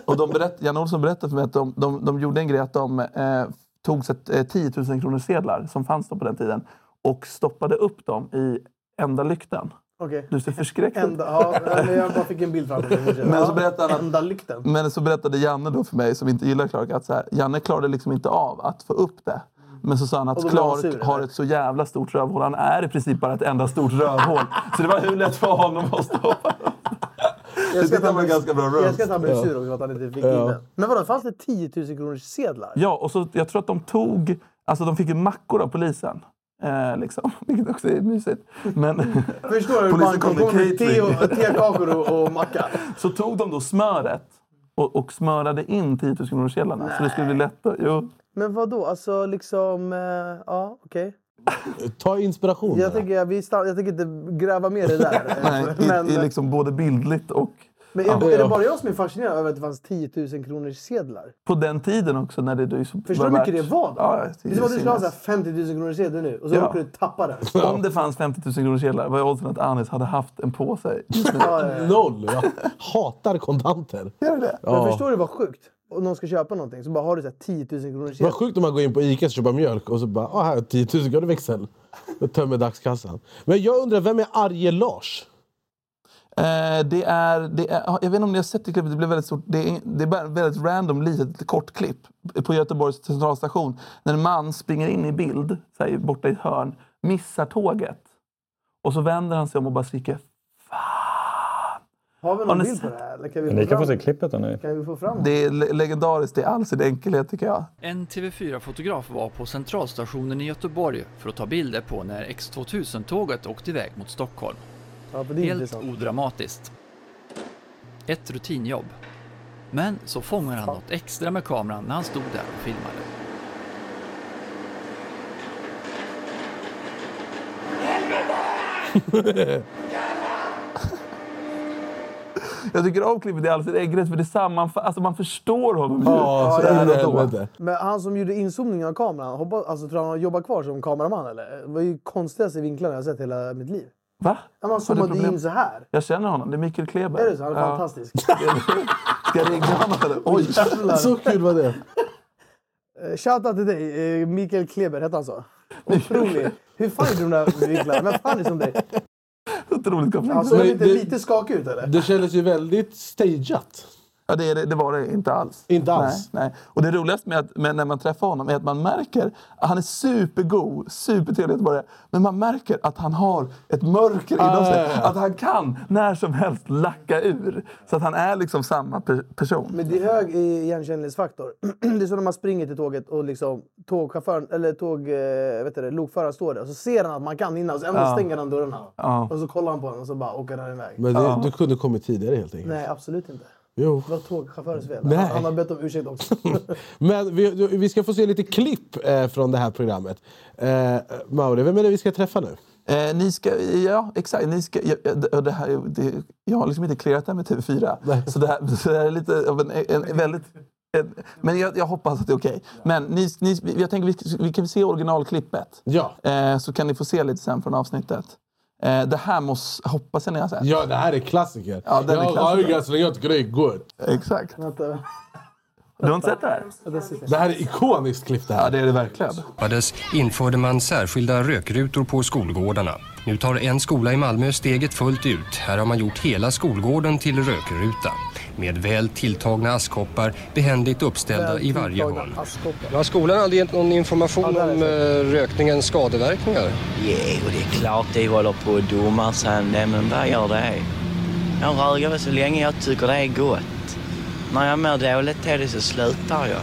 Speaker 2: och de berätt, Janne Olsson berättade för mig att de, de, de gjorde en grej att de eh, tog så att, eh, 10 000 kronor sedlar som fanns då på den tiden och stoppade upp dem i enda lyktan.
Speaker 1: Okej.
Speaker 2: Du ser förskräckt ut.
Speaker 1: Ända, ja, men jag bara fick en bild framför mig.
Speaker 2: Men så berättar han att- Mm.
Speaker 1: Ända lykten.
Speaker 2: Men så berättade Janne då för mig, som inte gillar Clark, att så här, Janne klarade liksom inte av att få upp det. Men så sa han
Speaker 1: Och
Speaker 2: att
Speaker 1: då blev han sur,
Speaker 2: Clark
Speaker 1: eller?
Speaker 2: har ett så jävla stort rövhål. Han är i princip bara ett enda stort rövhål. Så det var hur lätt för honom att stoppa
Speaker 1: Jag
Speaker 2: tyckte han var ganska bra
Speaker 1: Jag
Speaker 2: roast.
Speaker 1: ska att han blev sur också att han inte fick in den. Men vadå, fanns det 10 000 kronors sedlar?
Speaker 2: Ja, och så, jag tror att de tog... Alltså de fick ju mackor av polisen. Eh, liksom. Vilket också är mysigt. Men
Speaker 1: Förstår du hur
Speaker 2: Polisen kom
Speaker 1: banken
Speaker 2: med
Speaker 1: kom med te
Speaker 2: catering.
Speaker 1: och- tekakor och, och macka?
Speaker 2: så tog de då smöret och, och smörade in 10 000 kronorssedlarna. Så det skulle bli lättare. Jo.
Speaker 1: Men vadå, alltså liksom... eh, Ja, okej.
Speaker 3: Ta inspiration.
Speaker 1: Jag
Speaker 3: bara.
Speaker 1: tänker, vi stann, jag tänker inte gräva mer i det där.
Speaker 2: Nej, i,
Speaker 1: men
Speaker 2: i liksom både bildligt och...
Speaker 1: men
Speaker 2: ja.
Speaker 1: är, är det bara jag som är fascinerad över att det fanns 10 000 kronors sedlar?
Speaker 2: På den tiden också när det... det
Speaker 1: Förstår du hur mycket det var då?
Speaker 2: Ja,
Speaker 1: det är som att du skulle ha så här
Speaker 2: sinnes.
Speaker 1: 50 000 kronors sedel nu och så
Speaker 2: Ja.
Speaker 1: råkar du tappa den.
Speaker 2: Om det fanns 50 000 kronorssedlar, vad är oddsen att Anis hade haft en på sig?
Speaker 1: Ja, ja, ja.
Speaker 3: Noll! Jag hatar kontanter.
Speaker 2: Gör det?
Speaker 1: Men
Speaker 3: Ja.
Speaker 1: förstår du vad sjukt? Om någon ska köpa någonting så bara har du så här 10 000 kronor
Speaker 3: Vad
Speaker 1: sedel.
Speaker 3: sjukt om man går in på Ica och köper mjölk och så bara ah, här, 10 000 kronor växel. Då tömmer dagskassan. Men jag undrar, vem är arge Lars?
Speaker 2: Eh, det är, det är, jag vet inte om ni har sett det klippet, det blev väldigt stort. Det är, det är bara ett väldigt random litet kort klipp på Göteborgs centralstation. När en man springer in i bild, så här, borta i ett hörn, missar tåget. Och så vänder han sig om och bara skriker
Speaker 1: Har vi
Speaker 2: Har
Speaker 1: någon
Speaker 2: ni
Speaker 1: bild på
Speaker 2: sett-
Speaker 1: det här? Eller kan vi,
Speaker 4: Ni
Speaker 1: få
Speaker 4: kan
Speaker 1: fram,
Speaker 4: få se klippet då nu.
Speaker 1: kan vi få fram det?
Speaker 2: Det är le- legendariskt i all sin enkelhet tycker jag.
Speaker 8: En TV4-fotograf var på centralstationen i Göteborg för att ta bilder på när X2000-tåget åkte iväg mot Stockholm.
Speaker 1: Ja, för det är
Speaker 8: Helt
Speaker 1: intressant.
Speaker 8: odramatiskt. Ett rutinjobb. Men så fångar han något extra med kameran när han stod där och filmade.
Speaker 2: Jag tycker om klippet i all sin enkelhet för det sammanfattar, alltså man förstår honom ju.
Speaker 3: Ja, så
Speaker 2: där
Speaker 3: in i
Speaker 2: och då.
Speaker 3: helvete.
Speaker 1: Men han som gjorde inzoomningen av kameran, hoppas, alltså, tror han han jobbar kvar som kameraman eller? Det var ju konstigaste vinklarna jag har sett hela mitt liv.
Speaker 2: Va?
Speaker 1: Ja, Man
Speaker 2: Har du
Speaker 1: zoomade
Speaker 2: problem?
Speaker 1: in så här.
Speaker 2: Jag känner honom, det är Mikael Kleber.
Speaker 1: Är det så? Han är
Speaker 2: Ja.
Speaker 1: fantastisk.
Speaker 2: Ska jag ringa honom eller? Oj!
Speaker 1: Jävlar.
Speaker 3: Så kul var det.
Speaker 1: Eh, Shoutout till dig, eh, Mikael Kleber hette han så? Otrolig. Hur fan gjorde de där vinklarna? Vem fan är som dig?
Speaker 2: Otroligt komplext.
Speaker 1: Han såg
Speaker 3: Men
Speaker 1: lite,
Speaker 3: det-
Speaker 1: lite skakig ut eller?
Speaker 3: Det kändes ju väldigt stageat.
Speaker 2: Ja, det, är det, det var det inte alls.
Speaker 3: Inte alls?
Speaker 2: Nej, nej. Och det roligaste med, att, med när man träffar honom är att man märker att han är supergod, supertrevlig göteborgare. Men man märker att han har ett mörker inom sig.
Speaker 3: Ah, ja, ja.
Speaker 2: Att han kan när som helst lacka ur. Så att han är liksom samma pe- person.
Speaker 1: Men det är hög i- igenkännlighetsfaktor. Det är som när man springer till tåget och liksom tågchauffören, eller tåg, eh, vet du det, lokföraren står där och så ser han att man kan innan och så ändå stänger han dörrarna. Och så kollar han på honom och så bara åker han iväg.
Speaker 3: Men det, du kunde kommit tidigare helt enkelt.
Speaker 1: Nej, absolut inte.
Speaker 3: Jo.
Speaker 1: Det var tågchaufförens fel.
Speaker 3: Nej.
Speaker 1: Han, han har bett om ursäkt också.
Speaker 3: Men vi, du- vi ska få se lite klipp eh, från det här programmet. Eh, Mauri, vem är det vi ska träffa nu?
Speaker 2: Eh, ni ska, ja, exakt. Ni ska, ja, ja, det- det här, det, jag har liksom inte clearat det här med TV4. Så det, här, så det här är lite av en, en, en väldigt... En, men jag, jag hoppas att det är okej. Men ni, ni, jag tänker vi, vi kan se originalklippet.
Speaker 3: Ja.
Speaker 2: Eh, så kan ni få se lite sen från avsnittet. Eh, det här måste, hoppas jag ni har sett.
Speaker 3: Ja, det här är klassiker.
Speaker 2: Ja, den är
Speaker 3: jag har
Speaker 2: klassiker.
Speaker 3: ögat så länge jag tycker det är gott.
Speaker 2: Exakt.
Speaker 1: Vänta.
Speaker 2: Du har inte sett det här?
Speaker 3: Det här är ikoniskt klipp det här.
Speaker 2: Ja, det är det verkligen.
Speaker 9: införde man särskilda rökrutor på skolgårdarna. Nu tar en skola i Malmö steget fullt ut. Här har man gjort hela skolgården till rökruta. Med väl tilltagna askkoppar behändigt uppställda i varje hörn.
Speaker 1: askkoppar.
Speaker 9: Har skolan aldrig gett någon information
Speaker 1: Ja, där är
Speaker 9: om eh, rökningens skadeverkningar?
Speaker 11: Jo, det är klart de håller på och domar sig. Nej, men vad gör det? Jag röker väl så länge jag tycker det är gott. När jag mår dåligt till det så slutar jag.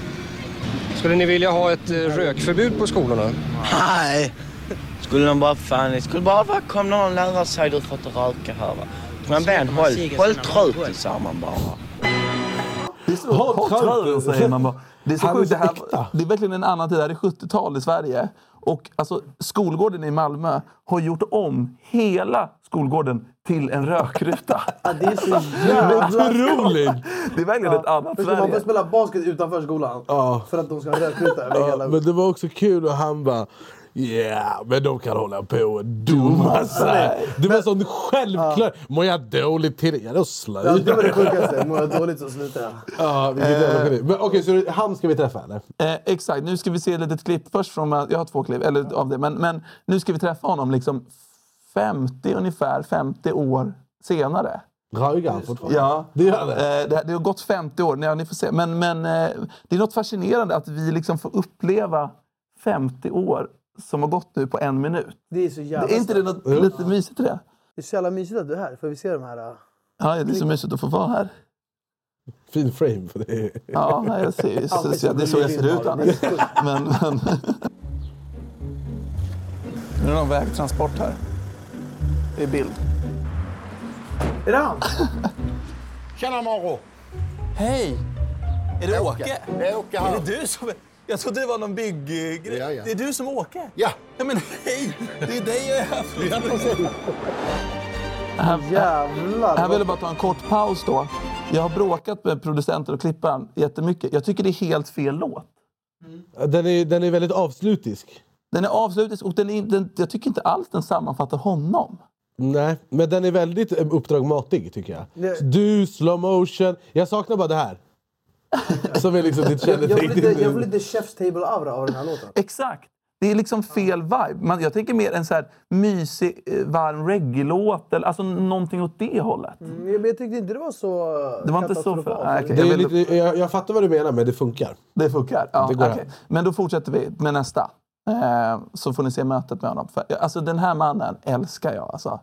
Speaker 9: Skulle ni vilja ha ett eh, rökförbud på skolorna?
Speaker 11: Nej! Skulle de bara fan... Det skulle bara vara kom någon lärare och säga du får inte röka här va. Men Ben, håll, håll truten sa man bara.
Speaker 2: Det är så hårt tröden, säger man bara. Det är, så
Speaker 3: Han är
Speaker 2: sjukt.
Speaker 3: så
Speaker 2: Det, här,
Speaker 3: äkta.
Speaker 2: det är verkligen en annan tid. Det här är 70-tal i Sverige. Och alltså, skolgården i Malmö har gjort om hela skolgården till en rökruta.
Speaker 1: Ja, det är så jävla...
Speaker 3: Otroligt!
Speaker 2: Det är verkligen ett annat
Speaker 1: Förstår, Man får
Speaker 2: Sverige.
Speaker 1: spela basket utanför skolan för att de ska ha rökruta över
Speaker 3: Ja,
Speaker 1: hela...
Speaker 3: men det var också kul och han bara Yeah, men de kan hålla på och dumma sig. Det var en sån självklar... Mår jag dåligt till det, ja då slår
Speaker 1: Ja, det var
Speaker 3: jag.
Speaker 1: det sjukaste. Mår Eh. jag dåligt så slutar jag.
Speaker 3: Ja, vilket jävla geni. Men Okej, så det- han ska vi träffa eller?
Speaker 2: Eh, exakt, nu ska vi se ett litet klipp först. Från, jag har två klipp eller, av det. Men, men nu ska vi träffa honom liksom 50 ungefär, 50 år senare.
Speaker 3: Röjer han fortfarande?
Speaker 2: Ja.
Speaker 3: Det gör han.
Speaker 2: Eh, Det, här- det har gått 50 år, ja, ni får se. Men, men eh, det är något fascinerande att vi liksom får uppleva 50 år som har gått nu på en minut.
Speaker 1: Det är så jävla...
Speaker 2: Är inte det något lite mysigt i det?
Speaker 1: Det är så jävla mysigt att du är här. Får vi se de här... äh,
Speaker 2: Ja, det är så mysigt att få vara här.
Speaker 3: Fin frame på det.
Speaker 2: Ja, nej, jag ser, jag ser, det är så jag ser ut
Speaker 1: Det är
Speaker 2: annars.
Speaker 1: så sjukt.
Speaker 2: Men, men. Nu är det någon vägtransport här. Det är bild.
Speaker 1: Är det han?
Speaker 9: Tjena Maro!
Speaker 2: Hej! Är det Åke?
Speaker 9: Det är Åke
Speaker 2: Är det du som... Jag trodde det var någon bygggrej.
Speaker 9: Ja, ja.
Speaker 2: Det är du som åker?
Speaker 9: Ja.
Speaker 2: ja men hej! Det är dig jag är här för. Jag
Speaker 1: Jävlar.
Speaker 2: ville bara ta en kort paus då. Jag har bråkat med producenten och klipparen jättemycket. Jag tycker det är helt fel låt.
Speaker 3: Den är, den är väldigt avslutisk.
Speaker 2: Den är avslutad och den är, den, jag tycker inte alls den sammanfattar honom.
Speaker 3: Nej, men den är väldigt eh, uppdragmatig tycker jag.
Speaker 1: Det-
Speaker 3: Du, slow motion. Jag saknar bara det här. Som är liksom ditt
Speaker 1: Jag får lite, jag får
Speaker 3: kännetecken.
Speaker 1: lite Chef's Table-aura av den här låten.
Speaker 2: Exakt. Det är liksom fel vibe. Man, jag tänker mer en så här mysig, eh, varm reggae-låt. eller- Alltså någonting åt det hållet.
Speaker 1: Mm, Men jag tyckte inte det var så
Speaker 2: Det var inte så
Speaker 1: katastrofalt.
Speaker 2: för- nej, okej.
Speaker 3: Det
Speaker 2: jag
Speaker 3: är
Speaker 2: vet
Speaker 3: lite, jag, jag fattar vad du menar, men det funkar.
Speaker 2: Det funkar? Ja,
Speaker 3: Det går
Speaker 2: okej. Men då fortsätter vi med nästa. Eh, så får ni se mötet med honom. För, alltså den här mannen älskar jag. Alltså.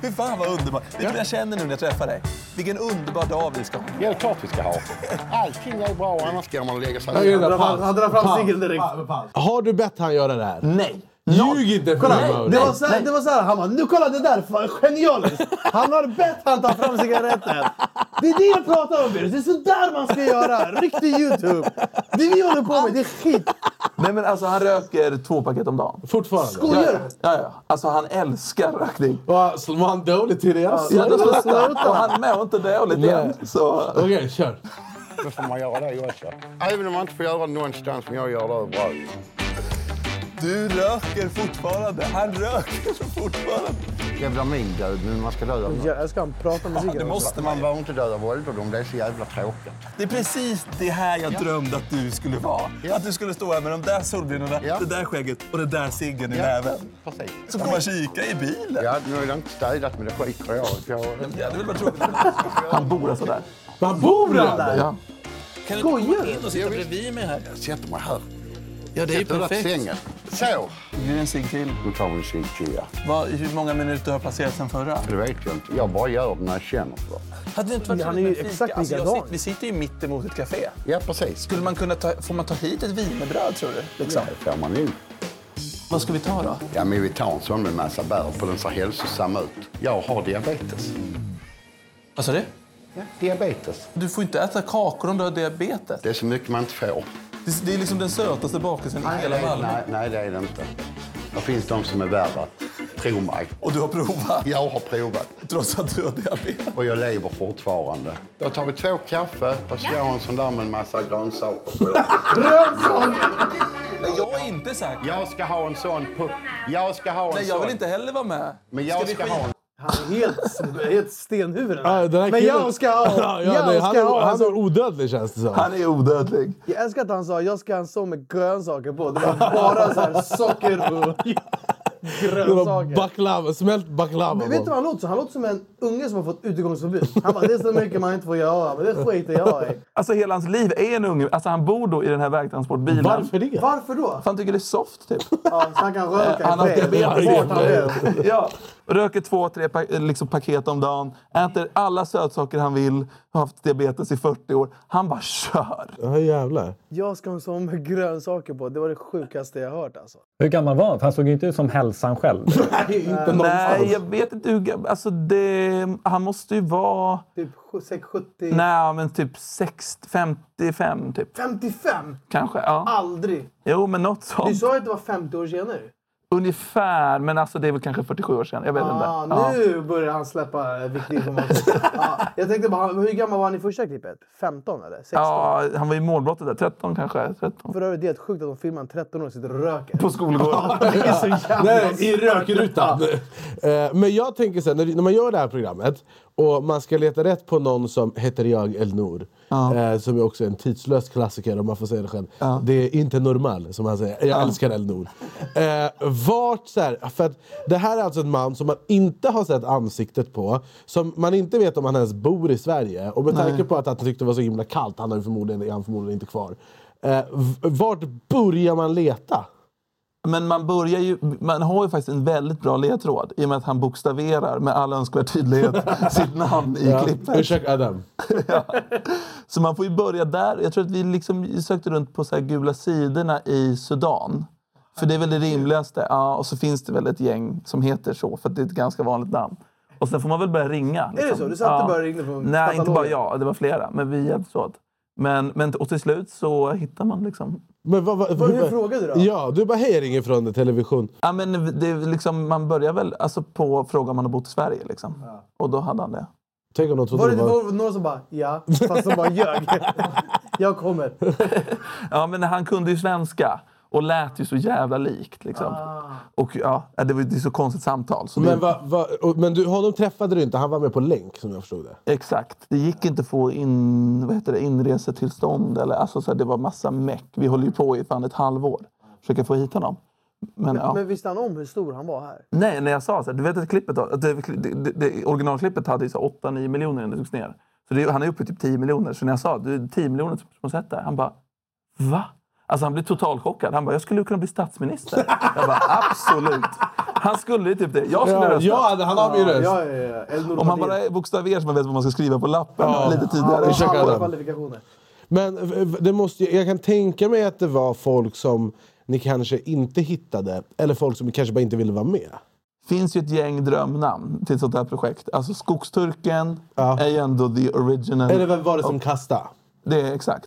Speaker 2: Hur fan vad underbart. Vet du vad jag känner nu när jag träffar dig? Vilken underbar dag vi ska ha.
Speaker 9: Ja, det är klart vi ska ha. Allting är bra, annars ska man lägga sig
Speaker 3: Han
Speaker 1: drar fram- han drar fram singeln direkt.
Speaker 3: Har du bett han göra det här?
Speaker 2: Nej!
Speaker 3: Ljug inte för mig
Speaker 1: Det
Speaker 3: Mauri!
Speaker 1: var, så här, det var så här, han bara, nu kolla det där, fan, genialiskt! Han har bett han ta fram cigaretten. Det är det jag pratar om Birus, det är så där man ska göra! Riktig YouTube! Det vi håller på med, det är skit!
Speaker 2: Nej men alltså han röker två paket om dagen.
Speaker 3: Fortfarande?
Speaker 2: Ja,
Speaker 1: Skojar du?
Speaker 2: ja, ja. Alltså han älskar rökning.
Speaker 3: Va, så Var han dålig till det alltså?
Speaker 2: Ja, det var så och han mår inte dåligt
Speaker 3: Nej.
Speaker 2: igen. Så,
Speaker 3: Okej, kör.
Speaker 9: Då får man göra det också. Även om man inte får göra det någonstans, men jag gör det överallt.
Speaker 2: du röker fortfarande. Han röker fortfarande.
Speaker 9: Jävla min död, men man ska dö av något.
Speaker 1: Jag älskar han pratar om
Speaker 2: Det
Speaker 1: musiken.
Speaker 2: måste
Speaker 9: Man
Speaker 2: man vara.
Speaker 9: behöver inte dö av ålderdom, det är så jävla tråkigt.
Speaker 2: Det är precis det här jag drömde att du skulle vara. Att du skulle stå här med de där solbrillorna,
Speaker 9: Ja.
Speaker 2: det där skägget och den där ciggen i näven.
Speaker 9: Precis.
Speaker 2: Så får man kika i bilen.
Speaker 9: Ja, nu är det inte städat, men det skiter jag i. för jag-
Speaker 2: Ja, det vill vara tråkigt. Han bor alltså där.
Speaker 3: Man bor
Speaker 1: där!
Speaker 3: Ja.
Speaker 12: Kan du inte komma in och sitta bredvid mig här? Jag sätter mig här.
Speaker 2: Ja, det är ju
Speaker 12: Sätter dig på
Speaker 2: perfekt.
Speaker 12: sängen. Så!
Speaker 2: Nu är en cigg till.
Speaker 12: Nu tar vi en cigg till, ja.
Speaker 2: Vad, hur många minuter har passerat sen förra?
Speaker 12: Det vet jag inte. Jag bara gör det när jag känner för det.
Speaker 2: Hade det inte varit
Speaker 1: Han
Speaker 2: trevligt
Speaker 1: är ju
Speaker 2: med fika?
Speaker 1: exakt
Speaker 2: alltså, jag
Speaker 1: likadan.
Speaker 2: sitter, Vi sitter ju mitt emot ett café.
Speaker 12: Ja, precis.
Speaker 2: Skulle man kunna ta, får man ta hit ett wienerbröd, tror du? Liksom?
Speaker 12: Det får man ju.
Speaker 2: Vad ska vi ta då?
Speaker 12: Ja, men vi tar en sån med massa bär på. Den ser hälsosam ut. Jag har diabetes.
Speaker 2: Vad sa du?
Speaker 12: Ja, diabetes.
Speaker 2: Du får inte äta kakor om du har diabetes.
Speaker 12: Det är så mycket man inte får.
Speaker 2: Det, det är liksom den sötaste bakelsen i
Speaker 12: Nej,
Speaker 2: hela
Speaker 12: nej,
Speaker 2: Malmö.
Speaker 12: nej, nej, det är det inte. Det finns de som är värre. Tro mig.
Speaker 2: Och du har provat?
Speaker 12: Jag har provat.
Speaker 2: Trots att du har diabetes?
Speaker 12: Och jag lever fortfarande. Då tar vi två kaffe och så gör jag en sån där med en massa grönsaker på.
Speaker 2: Jag är inte säker.
Speaker 12: Jag ska ha en sån på... Jag ska ha en
Speaker 2: Nej, jag vill
Speaker 12: sån.
Speaker 2: inte heller vara med.
Speaker 12: Men jag ska ha en...
Speaker 1: Han är helt, helt stenhuvud.
Speaker 3: Ja, den här
Speaker 1: Men
Speaker 3: killen-
Speaker 1: jag ska ha!
Speaker 3: Ja, ja, det,
Speaker 1: jag
Speaker 3: han,
Speaker 1: ska
Speaker 3: är,
Speaker 1: ha!
Speaker 3: han är odödlig känns det som.
Speaker 2: Han är odödlig.
Speaker 1: Jag älskar att han sa jag ska ha en sån med grönsaker på. Det var bara så här socker och
Speaker 3: Det var
Speaker 1: grönsaker.
Speaker 3: baklava, smält baklava.
Speaker 1: Men Vet du vad han låter som? Han låter som en unge som har fått utegångsförbud. Han bara, det är så mycket man inte får göra, men det skiter jag i.
Speaker 2: Alltså hela hans liv är en unge. Alltså han bor då i den här vägtransportbilen.
Speaker 3: Varför det?
Speaker 1: Varför då?
Speaker 2: För han tycker det är soft typ.
Speaker 1: Ja, så han kan röka i
Speaker 2: Eh, Han har
Speaker 1: fred.
Speaker 2: diabetes.
Speaker 1: Vart han vill.
Speaker 2: ja. Röker två, tre pa liksom paket om dagen. Äter alla sötsaker han vill. Har haft diabetes i 40 år. Han bara kör.
Speaker 3: Ja, jävlar.
Speaker 1: Jag ska ha en sån med grönsaker på. Det var det sjukaste jag hört alltså.
Speaker 4: Hur gammal var han? För han såg ju inte ut som hälsan själv.
Speaker 2: Nej, jag vet inte hur gam- Alltså det... Han måste ju vara...
Speaker 1: Typ 670...
Speaker 2: Nej, men typ 60, 55 typ.
Speaker 1: 55?
Speaker 2: Kanske. Ja.
Speaker 1: Aldrig!
Speaker 2: Jo, men något
Speaker 1: Du
Speaker 2: sånt.
Speaker 1: sa ju att Ah. det var 50 år sedan nu.
Speaker 2: Ungefär. Men alltså det är väl kanske 47 år sedan. Jag vet inte.
Speaker 1: Ah,
Speaker 2: Ja.
Speaker 1: nu börjar han släppa viktig information. ja, jag tänkte bara, han- hur gammal var han i första klippet? 15 eller? 16?
Speaker 2: Ja, han var ju målbrottet där. 13 kanske. 13.
Speaker 1: För övrigt, det är helt sjukt att de filmar en 13-åring sitter och röker.
Speaker 2: På skolgården.
Speaker 1: Det är så jävla
Speaker 3: Nej, i
Speaker 1: sjukt.
Speaker 3: rökrutan. Eh, Men jag tänker så här, när, när man gör det här programmet och man ska leta rätt på någon som heter jag Elnor. eh, Som är också en tidslös klassiker om man får säga det själv. Det är inte normal som han säger. Jag älskar Elnor. Eh, vart så här, för att det här är alltså en man som man inte har sett ansiktet på. Som man inte vet om han ens bor i Sverige. Och med tanke på att han tyckte det var så himla kallt, han är ju förmodligen, är han förmodligen inte kvar. Eh, v- vart börjar man leta?
Speaker 2: Men man, börjar ju, man har ju faktiskt en väldigt bra ledtråd i och med att han bokstaverar med all önskvärd tydlighet sitt namn i
Speaker 3: Ja,
Speaker 2: klippet.
Speaker 3: Ursäkta Adam.
Speaker 2: Så man får ju börja där. Jag tror att vi liksom sökte runt på så här gula sidorna i Sudan. För det är väl det rimligaste. Ja, och så finns det väl ett gäng som heter så, för att det är ett ganska vanligt namn. Och sen får man väl börja ringa. liksom.
Speaker 1: det så? Du satt och började ringa på
Speaker 2: Nej, inte bara
Speaker 1: katalogen?
Speaker 2: jag. Det var flera. Men vi hjälptes åt. Men, men, och till slut så hittar man liksom
Speaker 3: Men vad, vad,
Speaker 1: Vad-
Speaker 3: hur-
Speaker 1: Hur frågade du då?
Speaker 3: Ja, du bara hej jag ringer från television.
Speaker 2: Ja, men det är liksom, man börjar väl alltså, på fråga om han har bott i Sverige. Liksom. Och då hade han det.
Speaker 3: Tänk om någon
Speaker 1: Var
Speaker 3: trodde
Speaker 1: det
Speaker 3: det var...
Speaker 1: var det någon som bara ja, fast som bara ljög? jag kommer.
Speaker 2: Ja, men han kunde ju svenska och lät ju så jävla likt. Liksom. Och, ja, det, var, ju- det är så konstigt samtal. Så
Speaker 3: Men,
Speaker 2: det,
Speaker 3: va, va, och- men du, honom träffade du inte, han var med på länk som jag förstod det.
Speaker 2: exakt. Det gick inte att få in, vad heter det, inresetillstånd. Eller, alltså, så här, det var massa meck. Vi håller ju på i fan ett halvår. Försöka få hit honom. Men, ja.
Speaker 1: Men visste han om hur stor han var här?
Speaker 2: Nej, när jag sa så här, du vet att klippet, då, att det, det, det, originalklippet hade ju så 8-9 miljoner innan det togs ner. Så det, han är uppe i typ 10 miljoner. Så när jag sa du, 10 miljoner som sett där, han bara va? Alltså han blev totalchockad. Han bara, jag skulle kunna bli statsminister. Jag bara, absolut. Han skulle ju typ det. Jag skulle
Speaker 3: Ja,
Speaker 2: rösta.
Speaker 3: ja hade- han har min röst.
Speaker 1: Ja, ja, ja. Eldnor
Speaker 2: Om han
Speaker 1: Patil.
Speaker 2: bara bokstaverar så man vet vad man ska skriva på lappen
Speaker 3: Ja.
Speaker 2: lite
Speaker 1: Ja,
Speaker 2: tidigare.
Speaker 1: han
Speaker 3: ursäkta,
Speaker 1: har alla
Speaker 3: Adam.
Speaker 1: kvalifikationer.
Speaker 3: Men v- v- det måste, ju- jag kan tänka mig att det var folk som ni kanske inte hittade. Eller folk som kanske bara inte ville vara med.
Speaker 2: finns ju ett gäng drömnamn till ett sånt här projekt. Alltså Skogsturken
Speaker 3: Ja.
Speaker 2: är ju ändå the original.
Speaker 3: Eller vem var det som kastade?
Speaker 2: Det är exakt.